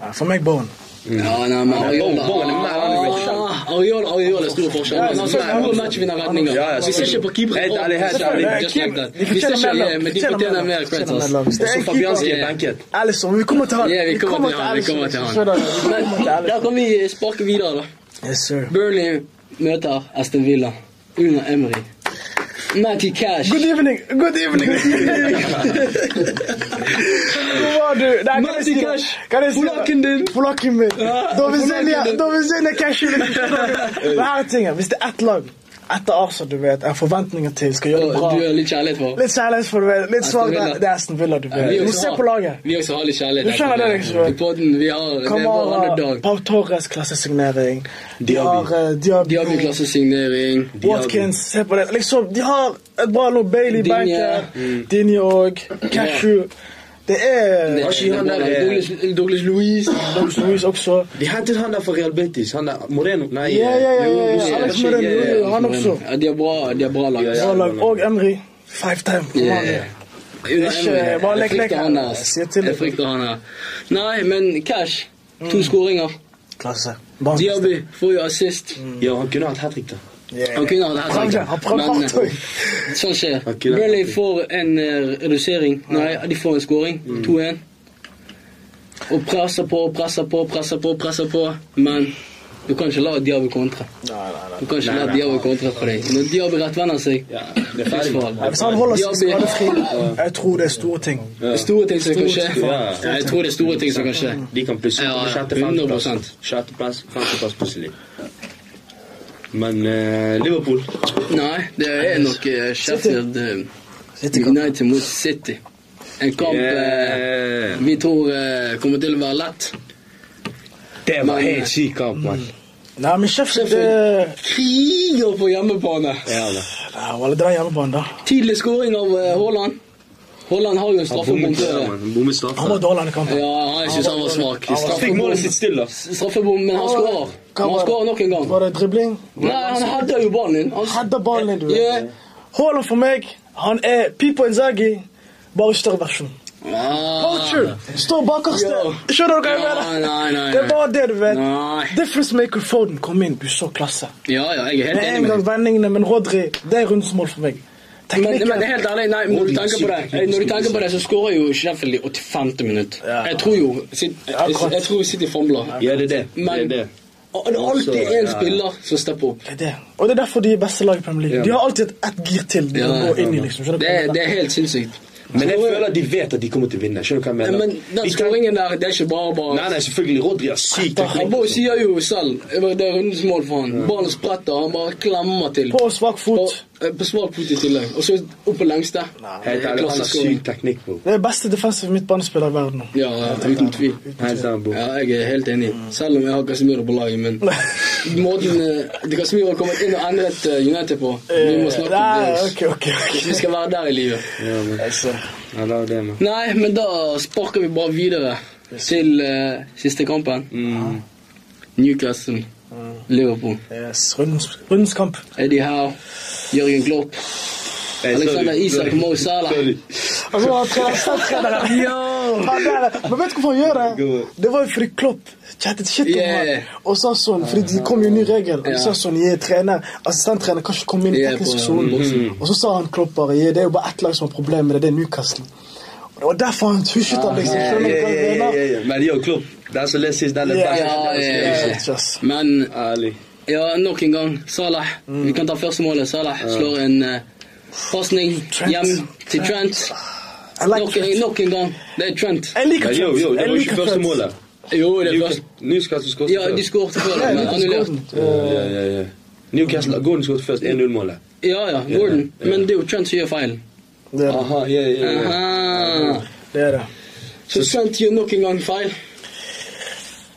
C: Nei, For meg, Bowen.
B: Ja, nei, men Ariola
A: Bowen- Bowen er mer enn en forskjell.
B: Ah, Ariola Ariola er stor forskjell.
C: Ja,
B: Men han
C: selvfølgelig.
B: spiller matchvinnerretninger.
A: Ja, ja,
B: Vi ser ikke på keepere.
A: Helt ærlig, helt
B: Selvfølgelig,
A: ærlig.
B: just like that.
C: De
B: Vi ser
C: fortjener mer
B: ikke,
C: lag.
B: eh, men de
C: Fortjener mer
B: fortjener
C: lag.
B: mer credit.
C: Fortjener mer lag.
B: ass.
C: Det er
B: Så
C: en
B: Fabianski
A: De
B: er
A: er benket.
C: Alisson, vi kommer til han.
B: Ja, vi kommer til han, vi
C: Alisson,
B: kommer til han.
C: skjønner du? Vi kommer til
B: Men
C: Alisson.
B: der kan vi eh, sparke videre, da.
C: Yes, sir.
B: Burnley møter Aston Villa under Emery. Matty Cash.
C: Good evening, good evening. Hvor var du? Nei, kan jeg si det?
B: Matikash,
C: Kan jeg si det?
B: polakken din.
C: Polakken min. Dovizelia,
B: polakken din.
C: Dovizelia Cashew. Men her er tingen, hvis det er ett lag etter Arsenal, du vet, er forventninger til, skal gjøre det bra.
B: Du har litt kjærlighet for
C: Litt kjærlighet for du vet, litt
B: Aston
C: svak,
B: Villa.
C: det er Aston Villa, du
B: Vi
C: vet. Du
B: også
C: ser
B: har-
C: på laget.
B: Vi også har litt kjærlighet.
C: Du skjønner det, liksom.
B: I podden, vi har Det er vår
C: Kamara,
B: underdog.
C: Pau Torres, klassesignering. De har
A: Diaby.
C: eh, Diaby.
B: Diablo-klassesignering.
C: Watkins, se på det. Liksom, de har et bra lov. Bailey,
B: Digne. Mm.
C: Banker, Dinje og Cashew. Det er
A: Har ikke han der, eh,
B: Douglas, Douglas Louise.
C: Douglas Luiz også.
A: De hentet han der fra Real Betis. Han der Moreno. Nei,
C: Ja, ja, ja, ja, ja.
A: Jose.
C: Alex Moreno,
A: Ja, ja, ja.
C: han også.
B: Ja, de har bra, de har bra lag.
A: Ja, ja.
C: Bra lag. Og Emry. Five time. Kom
B: Yeah.
C: an.
B: Under
C: Ikke
B: Emery.
C: bare
B: Jeg
C: lek, lek
B: frykter
C: her.
B: han der. ass.
C: Se til Mm.
B: Jeg
C: det.
B: frykter han her. Nei, men Cash. To skåringer.
C: Klasse. Barnes beste.
B: Diaby får jo assist.
A: Ja, han kunne hatt hat trick, da.
B: Han kunne hatt hat
C: Prøv det. Han prøvde
B: men
C: hardt.
B: eh, sånn skjer.
A: Han kunne hatt
B: Burnley
A: hat-trick.
B: får en eh, redusering. Nei, de får en skåring.
C: Mm.
B: 2-1. Og presser på, presser på, presser på, presser på. Men du kan ikke la Diabo kontre.
C: Nei, nei, nei.
B: Du kan ikke la Diabo kontre på deg. Når Diabo rettvender seg
A: Ja, det er ferdig.
B: Krigsfaren.
C: Hvis han holder seg
B: Diaby.
C: skadefri Jeg tror det er store ting.
A: Ja.
B: Store ting som kan skje.
A: Ja.
B: Ja, jeg tror det er store ting som kan skje.
A: De kan plutselig
B: Ja,
A: komme
B: ja,
A: sjette, femteplass.
B: 100%.
A: Sjetteplass, femteplass plutselig. Men eh, Liverpool
B: Nei, det er nok eh, Sheffield eh, United mot City. En kamp eh,
A: Eh,
B: vi tror eh, kommer til å være lett.
A: Det
B: var helt
A: syk kamp, mann.
C: Nei, men Sheffield det...
B: Kriger på hjemmebane!
A: Ja, da.
C: Nei, Valle, dra hjemmebane, da.
B: Tidlig scoring av eh, Haaland. Haaland har jo en
A: Han
B: straffebom
A: bommet
B: før.
A: der,
B: det.
A: mann. Han bommet
C: Han var
A: straffe.
C: dårlig i kampen.
B: Ja, jeg syns han var svak.
C: Han var-
A: Han fikk målet sitt stille. da.
B: Straffebom, men han skårer. Men Han skårer nok en gang.
C: Var det dribling?
B: Nei, han hadde jo ballen din. Han-
C: Hadde ballen, du.
B: Ja.
C: Haaland for meg, han er Pipo Inzaghi, bare større versjon. Culture! Stå bakerste.
B: Ah. Yo.
C: Skjønner du hva jeg
B: Ja,
C: mener?
B: nei, nei,
C: Det
B: nei.
C: var det, du vet.
B: Nei.
C: Difference maker Foden kom inn, du så klasse.
B: Ja, ja, jeg er
C: Med
B: helt enig
C: en
B: med deg.
C: gang vendingene, men Rodri, det er rundens mål for meg.
B: Men,
C: Teknikken.
B: men det er helt ærlig, nei, når du tenker på det,
A: Sykt,
B: når du
A: sykt,
B: tenker på det så skårer jo Sheffield i 85. minutt.
C: Ja.
B: Jeg tror jo jeg, jeg,
C: Akkurat.
B: jeg tror City famler.
A: Ja, det er det. Det
B: Men
A: er
B: det
A: det.
B: er alltid
A: Også,
B: én
A: ja.
B: spiller som stepper opp.
C: Det er det. Og det er derfor de er beste lag i Premier League.
A: Ja.
C: De har alltid ett gir til de
B: Ja,
C: kan
B: ja,
C: gå inn i,
A: ja.
C: liksom. Skjønner
B: Det,
C: du hva
B: er-
C: jeg mener?
B: det er helt sinnssykt.
A: Men jeg føler at de vet at de kommer til å vinne. Skjønner du hva jeg mener?
B: Men den
A: De kan-
B: skåringen der, det er ikke bare bare
A: Nei, nei, selvfølgelig. Rodri har
B: Ah,
A: syk
B: Han
A: teknikk.
B: bare sier jo selv det var- det er rundens mål for han. Ballen spretter, han bare klemmer til.
C: På svak
B: Og,
C: fot.
B: eh, på svak fot i tillegg. Og så opp på lengste.
A: Helt ærlig, han har
B: Klassisk skåring.
A: syk teknikk, bro.
C: Det er beste defensive midtbanespiller i verden nå.
B: Ja, uten tvil.
A: Hands down, bro.
B: Ja, jeg er helt enig. Selv om jeg har Casemiro på laget, men måten eh, de Casemiro har kommet inn og endret eh, United på Vi må snakke om
C: Eh, Nei,
B: det.
C: ok, ok, ok.
B: Vi skal være der i livet.
A: Ja, men. Han har det, man.
B: Nei, men da sparker vi bare videre til eh, siste kampen.
A: Mm.
B: Newcastle, Liverpool.
C: Yes, rundens, rundens kamp.
B: Eddie Howe, Jørgen Klopp, Alexander Isak, Mo Salah.
A: Sorry.
C: Og så har trener- statstreneren- Han der, Men vet du hvorfor han gjør det? Det var jo fordi Klopp chattet shit om
B: Yeah.
C: han. Og sa sånn, fordi det kom jo en ny regel. Og
B: Ja.
C: sa sånn, jeg er trener, assistenttrener kan ikke komme inn i
B: Yeah,
C: teknisk
B: på-
C: sone.
A: Mm-hmm.
C: Og så sa han Klopp bare, «Ja, det er jo bare ett lag som har problemer med det, det er Newcastle. Og det var derfor han husket han liksom.
A: Ja,
C: Skjønner du
A: ja,
C: hva jeg
A: ja,
C: mener?
A: ja, ja. Men yo, Klopp, den som leser sist, den er
C: Ja,
A: best.
B: ja, ja, ja.
C: Shit, ass.
B: Men
A: Ærlig.
B: ja, nok en gang. Salah.
C: Mm.
B: Vi kan ta første målet. Salah slår en uh, pasning
C: Trent.
B: hjem til Trent.
C: Jeg liker
B: Nok, en-
C: Trent.
B: nok en gang. Det er Trent.
C: Jeg liker
A: Men yo,
C: Trent.
A: yo, det var
C: Jeg
A: jo ikke
C: liker
A: første
C: Trent.
A: målet.
B: Jo, det er
A: Newcastle-
B: først.
A: Newcastle skåret
B: Ja, de
A: først.
B: skåret før,
C: Ja, jeg
B: men
C: liker
B: annullert.
C: Gordon.
A: Ja,
B: eh,
A: ja, ja. Newcastle, Gordon skåret først 1-0-målet.
B: Ja, ja, Gordon. Men det er jo Trent som gjør feilen.
C: Det er det.
A: Aha, ja, ja, ja.
B: Aha.
C: det er det.
A: Ah.
B: Så Trent gjør nok en gang feil.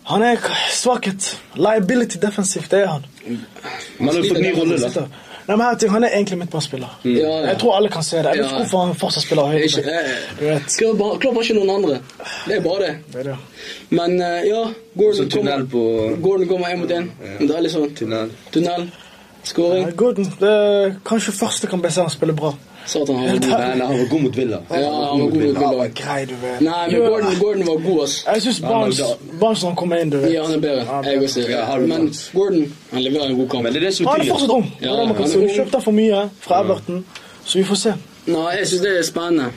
C: Han er svakhet. Liability defensivt, det er han.
A: Man har jo fått ny rolle, da.
C: Sitter. Nei, men her er ting, Han er egentlig midtbanespiller.
B: Ja, ja.
C: Jeg tror alle kan se det. Jeg vet
B: Mm. Ja.
C: ikke hvorfor han fortsatt spiller høyre.
B: Ikke, eh,
C: Du vet.
B: skal bare, Klopp har ikke noen andre. Det er bare det.
C: Det er det.
B: Men eh, ja, Gordon
A: Så tunnel
B: kommer,
A: på-
B: Gordon kommer én mot én. Men Det er litt sånn
A: Tunnel.
B: tunnel,
C: Ja,
B: skåring.
C: Gordon, det er kanskje første kan bli se han spiller bra.
B: Satan, han var god.
A: Nei, nei, han var god mot Villa.
B: Ja, han var god mot
C: Ja,
B: Villa.
C: grei, du vet.
B: Nei, men
C: Jo,
B: Gordon, Gordon var god, ass.
C: Jeg syns Barnes,
A: Han er
C: Barnes når han kommer inn, du vet.
B: Ja, han er bedre. Jeg også.
A: Ja, Harry
B: Men
A: Barnes.
B: Gordon han leverer en god kamp.
A: Men det er det som
C: Han er
A: betyr.
C: fortsatt ung.
B: Ja,
C: Det er det man
B: han
C: kan
B: er
C: si.
B: sånn ung.
C: Du kjøpte han for mye fra Everton, så vi får se.
B: Nei, jeg syns det er spennende.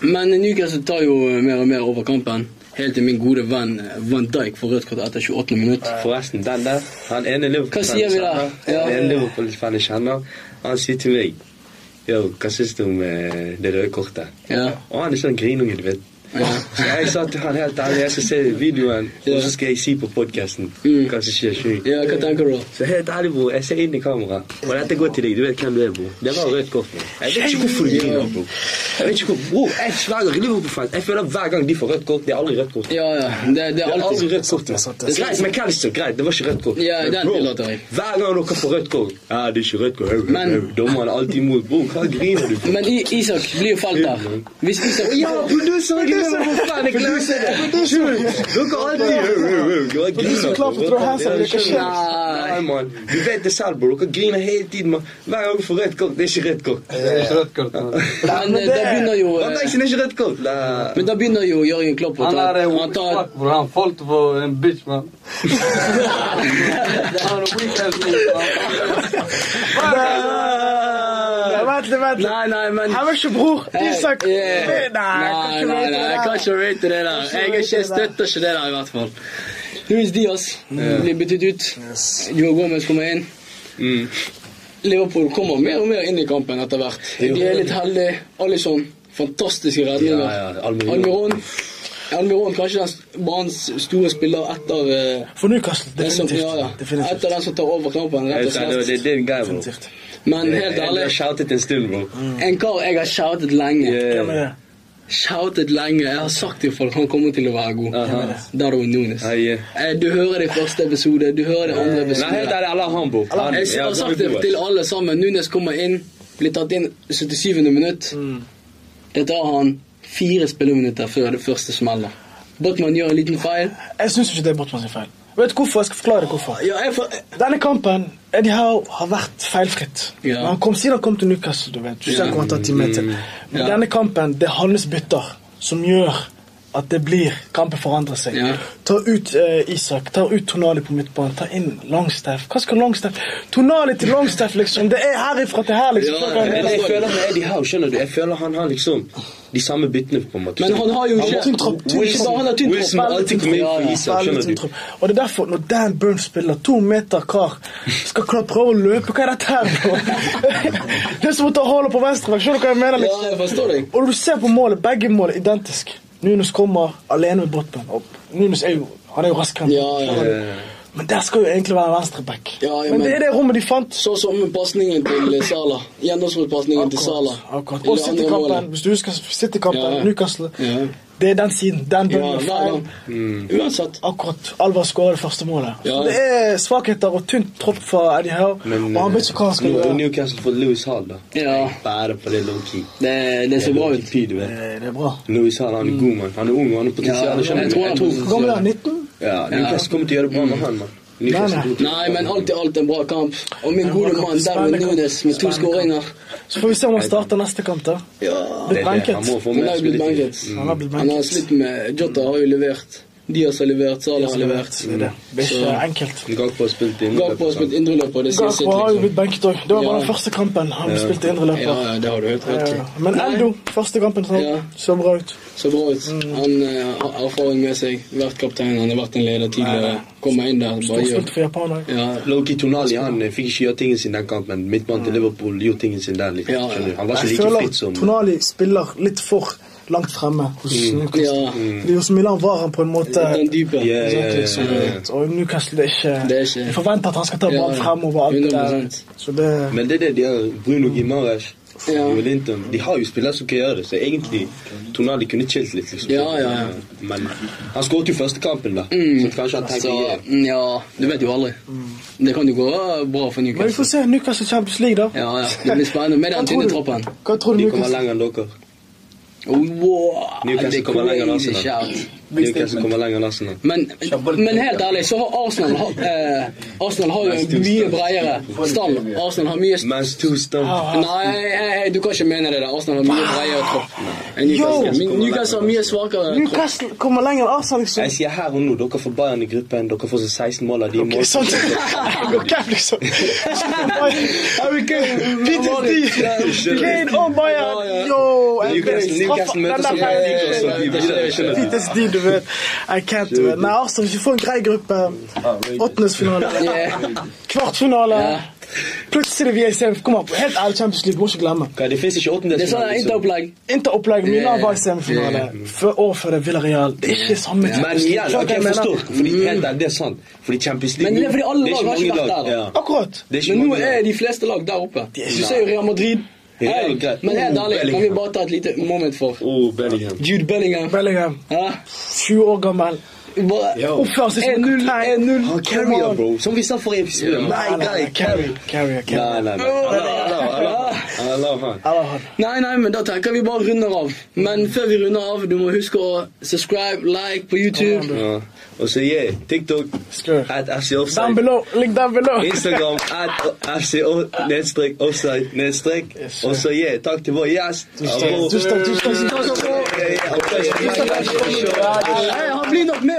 B: Men Newcastle tar jo mer og mer over kampen. Helt til min gode venn eh, Van Dijk får rødt kort etter 28. minutt.
A: Forresten, den der, han ene Liverpool-fan
B: sier vi da?
A: kjenner,
B: Ja.
A: han ene Liverpool-fan jeg kjenner, han sier til meg Yo, hva syns du om eh, det røde kortet?
B: Ja.
A: Og han er sånn grinunge, du vet.
B: Ja.
A: Så jeg sa til han helt ærlig, jeg skal se videoen, og så skal jeg si på podkasten
B: Mm.
A: hva som skjer. skjønner du?
B: ja, hva tenker du?
A: Så helt ærlig, bror, jeg ser inn i kameraet, og dette går til deg. Du vet hvem du er, bror. Det var rødt kort. bror. Jeg vet ikke hvorfor du griner, bror. Jeg vet ikke hvor, bror, jeg sverger Liverpool-fan. Jeg føler hver gang de får rødt kort, det er aldri rødt kort.
B: Ja, ja. altså- Det, det
A: Det
B: er
A: er aldri
B: alltid
A: rødt kort.
C: det er
A: bror.
C: sant, det er
A: Det er greit med Calster, greit, det var ikke rødt kort.
B: Ja,
A: Men
B: den
A: bror,
B: tillater jeg.
A: Hver gang dere får rødt kort Ja, det er ikke rødt kort. Hau, hau,
B: Men-
A: hau. Dommeren er alltid imot. Bror, hva griner du for?
B: Men I, Isak blir jo falt der. Hvis Isak
A: Ja, producer! Liverpool-fan, jeg glemte det! Dere er alltid hau, hau, hau. Dere
C: Du er så klar for å
A: griner.
C: throw hands up, det er ikke
A: Ja,
C: skjer.
B: Nei,
A: Ja, man. Je weet het zelf, bro. Ik green hele tijd, man. Waarom ook voor red kort? Dit is je red kort.
B: Men eh, där begynner jo
A: Wat
B: eh,
A: is je niet red kort? La.
B: Men da begynner jo Jørgen Klopp å
D: Han
B: ta
D: er en
B: Han
D: weak
B: tar
D: fuck, bror. Han falt på en bitch, man. Han är weak as
C: Ja, Warte, warte.
B: Nei, nei, men
C: Hamasje broer, Isak.
B: Eh, eh,
C: Nee,
B: Nei,
C: kan
B: nei, nei, jeg kan
C: ikke
B: ikke rate det der. Jeg er ikke, støtter ikke det der, i hvert fall. Luis Diaz Mm. blir byttet ut. Joe Gomez kommer inn.
A: Mm.
B: Liverpool kommer mer og mer inn i kampen etter hvert. De er litt heldige. Alison, fantastiske redninger.
A: Ja, ja, Almiron.
B: Almiron. Almiron kanskje den s- banens store spiller etter eh,
C: For Newcastle,
B: den som, ja, ja.
C: definitivt.
B: etter
C: Definitivt.
B: den som tar over kampen, rett og
A: Det
B: slett.
A: det er en guy, bro.
C: Definitivt.
B: Men helt
A: Jeg har
B: ærlig,
A: shoutet en stund, bro.
B: en kar jeg har shoutet lenge.
C: Hvem er
A: Yeah.
C: det?
B: Shoutet lenge. Jeg har sagt til folk han kommer til å være god.
A: Aha.
B: Darwin Nunes.
A: Ah, yeah.
B: Eh, Du hører det i første episode, du hører det i andre
A: Nei,
B: episode.
A: helt ærlig, alle har han, bro. Han-
B: Jeg
A: ja,
B: har sagt
A: Darwin
B: det
A: Nunes.
B: til alle sammen. Nunes kommer inn, blir tatt inn 77. minutt. Det tar han fire spilleminutter før det første smeller. Botman gjør en liten feil.
C: Jeg syns ikke det er Botman sin feil. Vet du hvorfor? Jeg skal forklare hvorfor.
B: Ja, jeg får...
C: Denne kampen Eddie Howe har vært feilfritt.
B: Ja.
C: Men han kom siden han kom til Newcastle. Du vet, du ser hvor han tar ti meter. Men
B: Ja.
C: denne kampen, det er hans bytter som gjør at det blir Kampen forandrer seg.
B: Ja.
C: Ta ut eh, Isak, ta ut Tonali på midtbanen, ta inn Longstaff. Hva skal Longstaff Tonali til Longstaff, liksom! Det er herifra til her, liksom!
B: Ja,
C: Hva kan
A: Men
C: jeg-
A: jeg føler med Eddie Howe, skjønner du? Jeg føler han har liksom de samme byttene på en måte.
B: Men han har jo
C: Han
B: ikke
C: har tynn tropp, tynn
B: Wilson,
C: tropp.
B: han har tynn tropp.
A: Wilson må alltid komme inn
B: Ja, ja.
A: for Isak,
C: Veldig
A: skjønner
C: tynn
A: du?
C: tropp. Og det er derfor, når Dan Burn spiller to meter kar, skal Klopp prøve å løpe Hva er dette her? nå? det er som å ta Haaland på venstre. Skjønner du hva jeg mener?
B: Ja,
C: liksom?
B: jeg forstår deg.
C: Og når du ser på målet, begge mål er identisk. Nunes kommer alene med Botman opp. Nunes er jo, han er jo raskere. enn
B: Ja, ja,
C: Botman. Men der skal jo egentlig være venstreback.
B: Ja, ja,
C: men, det
B: men-
C: er det rommet de fant.
B: Så som med pasningen til Sala. Gjennomsnittspasningen til Sala.
C: akkurat. Og City-kampen. Hvis du husker City-kampen,
B: Ja, ja.
C: Newcastle.
B: Ja.
C: Det er den siden. Den
B: Ja,
C: bønnen
B: hver
C: feil.
B: gang. Mm. Uansett.
C: Akkurat. Alvar skårer det første målet.
B: Ja,
C: Så
B: ja.
C: det er svakheter og tynt tropp for Eddie Howe.
A: Men
C: Og han vet ikke hva han skal
A: New-
C: gjøre.
A: Newcastle får Lewis Hall, da.
B: Ja,
A: Bare på det low-key.
B: det, det ser bra ut.
A: Py, du vet.
C: Eh, Det er bra.
A: Lewis Hall, han er god, mann. Han er ung, han har
B: Ja,
A: potensial. skjønner
B: jeg
A: du?
B: tror han-
C: Hvor gammel er han? 19?
A: Ja, Newcastle kommer til å gjøre det bra med han, mann.
C: Nei, nei.
A: Newcastle kommer til å-
B: Nei, men alt i alt en bra kamp. Og min
C: En bra
B: gode
C: kamp.
B: mann Darwin
C: Spennende kamp.
B: Nunes med to
C: Spennende kamp.
B: skåringer.
C: Så får vi se om han starter neste kamp, da.
B: Ja.
A: Det
C: Blitt
A: er det, han
C: benket.
A: må få
B: Han
A: mer
B: har jo blitt
A: spilletid.
B: benket.
C: Han har blitt
B: Han har
C: benket.
B: slitt med Jota har jo levert. Diaz har levert, Salah har levert.
C: Det er det. Det er ikke enkelt.
A: Mm. Gakpo har spilt inn.
B: Gakpo har spilt indreløper, det sier sitt,
C: Gakpo har
B: liksom.
C: jo blitt benket òg. Det var bare
B: Ja.
C: den første kampen han spilte indre
B: Ja,
C: løper.
B: ja, det har du helt rett i.
C: Ja. Men
B: Nei,
C: Eldo, første kampen, sånn,
B: Ja.
C: så bra ut.
B: Så bra ut.
C: Mm.
B: Han eh, har erfaring med seg. Vært kaptein, han har vært en leder tidligere. Kommer inn der, bare gjør.
C: Storspilte for Japan òg.
B: Ja,
A: Loki Tonali han eh, fikk ikke gjøre tingen sin den kampen. Midtmannen til Liverpool gjorde tingen sin der. litt,
B: Ja, ja.
A: skjønner du? Han var ikke
C: Jeg
A: like
C: føler
A: fit som
C: Tonali spiller litt for langt fremme hos
B: Mm. Ja.
C: Newcastle. Fordi Hos Milan var han på en måte
B: den dype.
A: Ja, ja, ja,
B: Eh,
C: Exactly,
A: ja, ja.
C: solid. Og Newcastle det er
B: Det er
C: ikke
B: ikke-
C: Vi forventer at han skal ta
B: Ja,
C: ballen fremover. alt det der.
B: 100%.
C: Så det
A: Men det er det de har. Bruno Gimares,
B: Ja.
A: Joe Linton De har jo spillere som kan gjøre det, så egentlig Tonali kunne chillet litt. liksom.
B: Ja, ja, ja. Mm.
A: Men han skåret jo første kampen, da. Så kanskje han tenker
B: Så,
A: yeah.
B: mm, ja, du vet jo aldri. Det kan jo gå eh, bra for
C: Mm. Men vi får
B: Newcastle.
C: se Newcastle Champions League, da.
B: Ja, ja, det blir spennende med den
C: Hva tror
B: tynne
C: du?
B: troppen.
C: Hva tror du
A: De kommer
C: Newcastle
A: lenger enn dere.
B: Wow,
A: Newcastle
B: det er
A: kommer lenger enn
B: crazy
A: Arsenal.
B: shout.
A: Newcastle kommer lenger enn Arsenal.
B: Men, men helt ærlig, så har Arsenal har- eh, Arsenal har jo en mye bredere stall. Arsenal har mye st-
A: Mans two stump.
B: Nei, eh, eh, du kan ikke mene det. der Arsenal har
A: Ah.
B: mye bredere tropp enn Newcastle. Men Newcastle har mye svakere tropp.
C: Newcastle kommer lenger enn Arsenal, liksom.
A: Jeg sier her og nå, dere får Bayern i gruppen. Dere får så 16 mål av de
C: Ok,
A: mål.
C: sånn. Jeg går cap, liksom. Harry Kane, PTSD. Kane og Bayern. Yo, jeg vet.
A: Newcastle Newcastle
C: Den
A: møter
C: der
A: som Newcastle og
C: feil.
A: de videre. skjønner du?
C: PTSD, du vet. I can't, du vet. Nei, Arsenal, hvis vi får en grei gruppe. Åttendesfinale,
B: Yeah.
C: kvartfinale.
B: Ja.
C: Plutselig vi er i semi. Kom opp, helt ærlig Champions League, må ikke glemme.
A: Hva, Det fins ikke
B: Det er sånn
A: åttendedelsfinale. liksom.
B: interopplegg.
C: Inter-opplegg, Milan var i
B: Ja.
C: semifinale. Før år før det, Villarreal. Det er ikke samme
A: Men
C: Champions League.
A: igjen,
C: Skjønner
A: ok,
C: du hva
A: jeg
C: jeg
A: forstår.
C: mener?
A: Fordi helt ærlig, det er sant. Fordi Champions League
B: Men det er fordi alle
A: det
B: lag har
A: mange
B: ikke vært
A: lag,
B: der, da.
A: ja.
C: Akkurat.
A: Det er ikke
B: Men nå
A: mange
B: er de fleste lag der oppe. Du ser jo Real Madrid.
A: Real
B: Hey,
A: Madrid.
B: men helt
A: Oh,
B: ærlig, kan vi
A: Bellingham.
B: bare ta et lite moment for
A: Oh, Bellingham.
B: Jude Bellingham?
C: Bellingham,
B: Hæ?
C: 20 år gammel.
B: Bare-
A: Yo.
C: Oppfører seg som
B: 1-0,
C: kaptein.
B: 1-0.
A: Han
C: Come
A: carrier,
C: on.
A: bro. Som vi sa forrige episode.
C: Nei,
A: My
C: nei,
A: guy,
C: nei, carry,
A: carry.
C: carry, carry.
A: Nei, nei, nei. Alla, alla, alla. Allah man.
C: Allah har
B: Nei, nei, men da tenker vi bare runder av. Men før vi runder av, du må huske å subscribe, like på YouTube.
A: Ja. Og så yeah, TikTok
C: Skrøt.
A: at FC
C: Down
A: Offside.
C: below, link down below.
A: Instagram at FC o- nedstrek offside nedstrek.
C: Yes, sir.
A: Og så yeah, takk til vår gjest. Abo.
C: Tusen takk, tusen takk.
A: Ah, Ja, ja, og takk.
B: Nei, Han blir nok med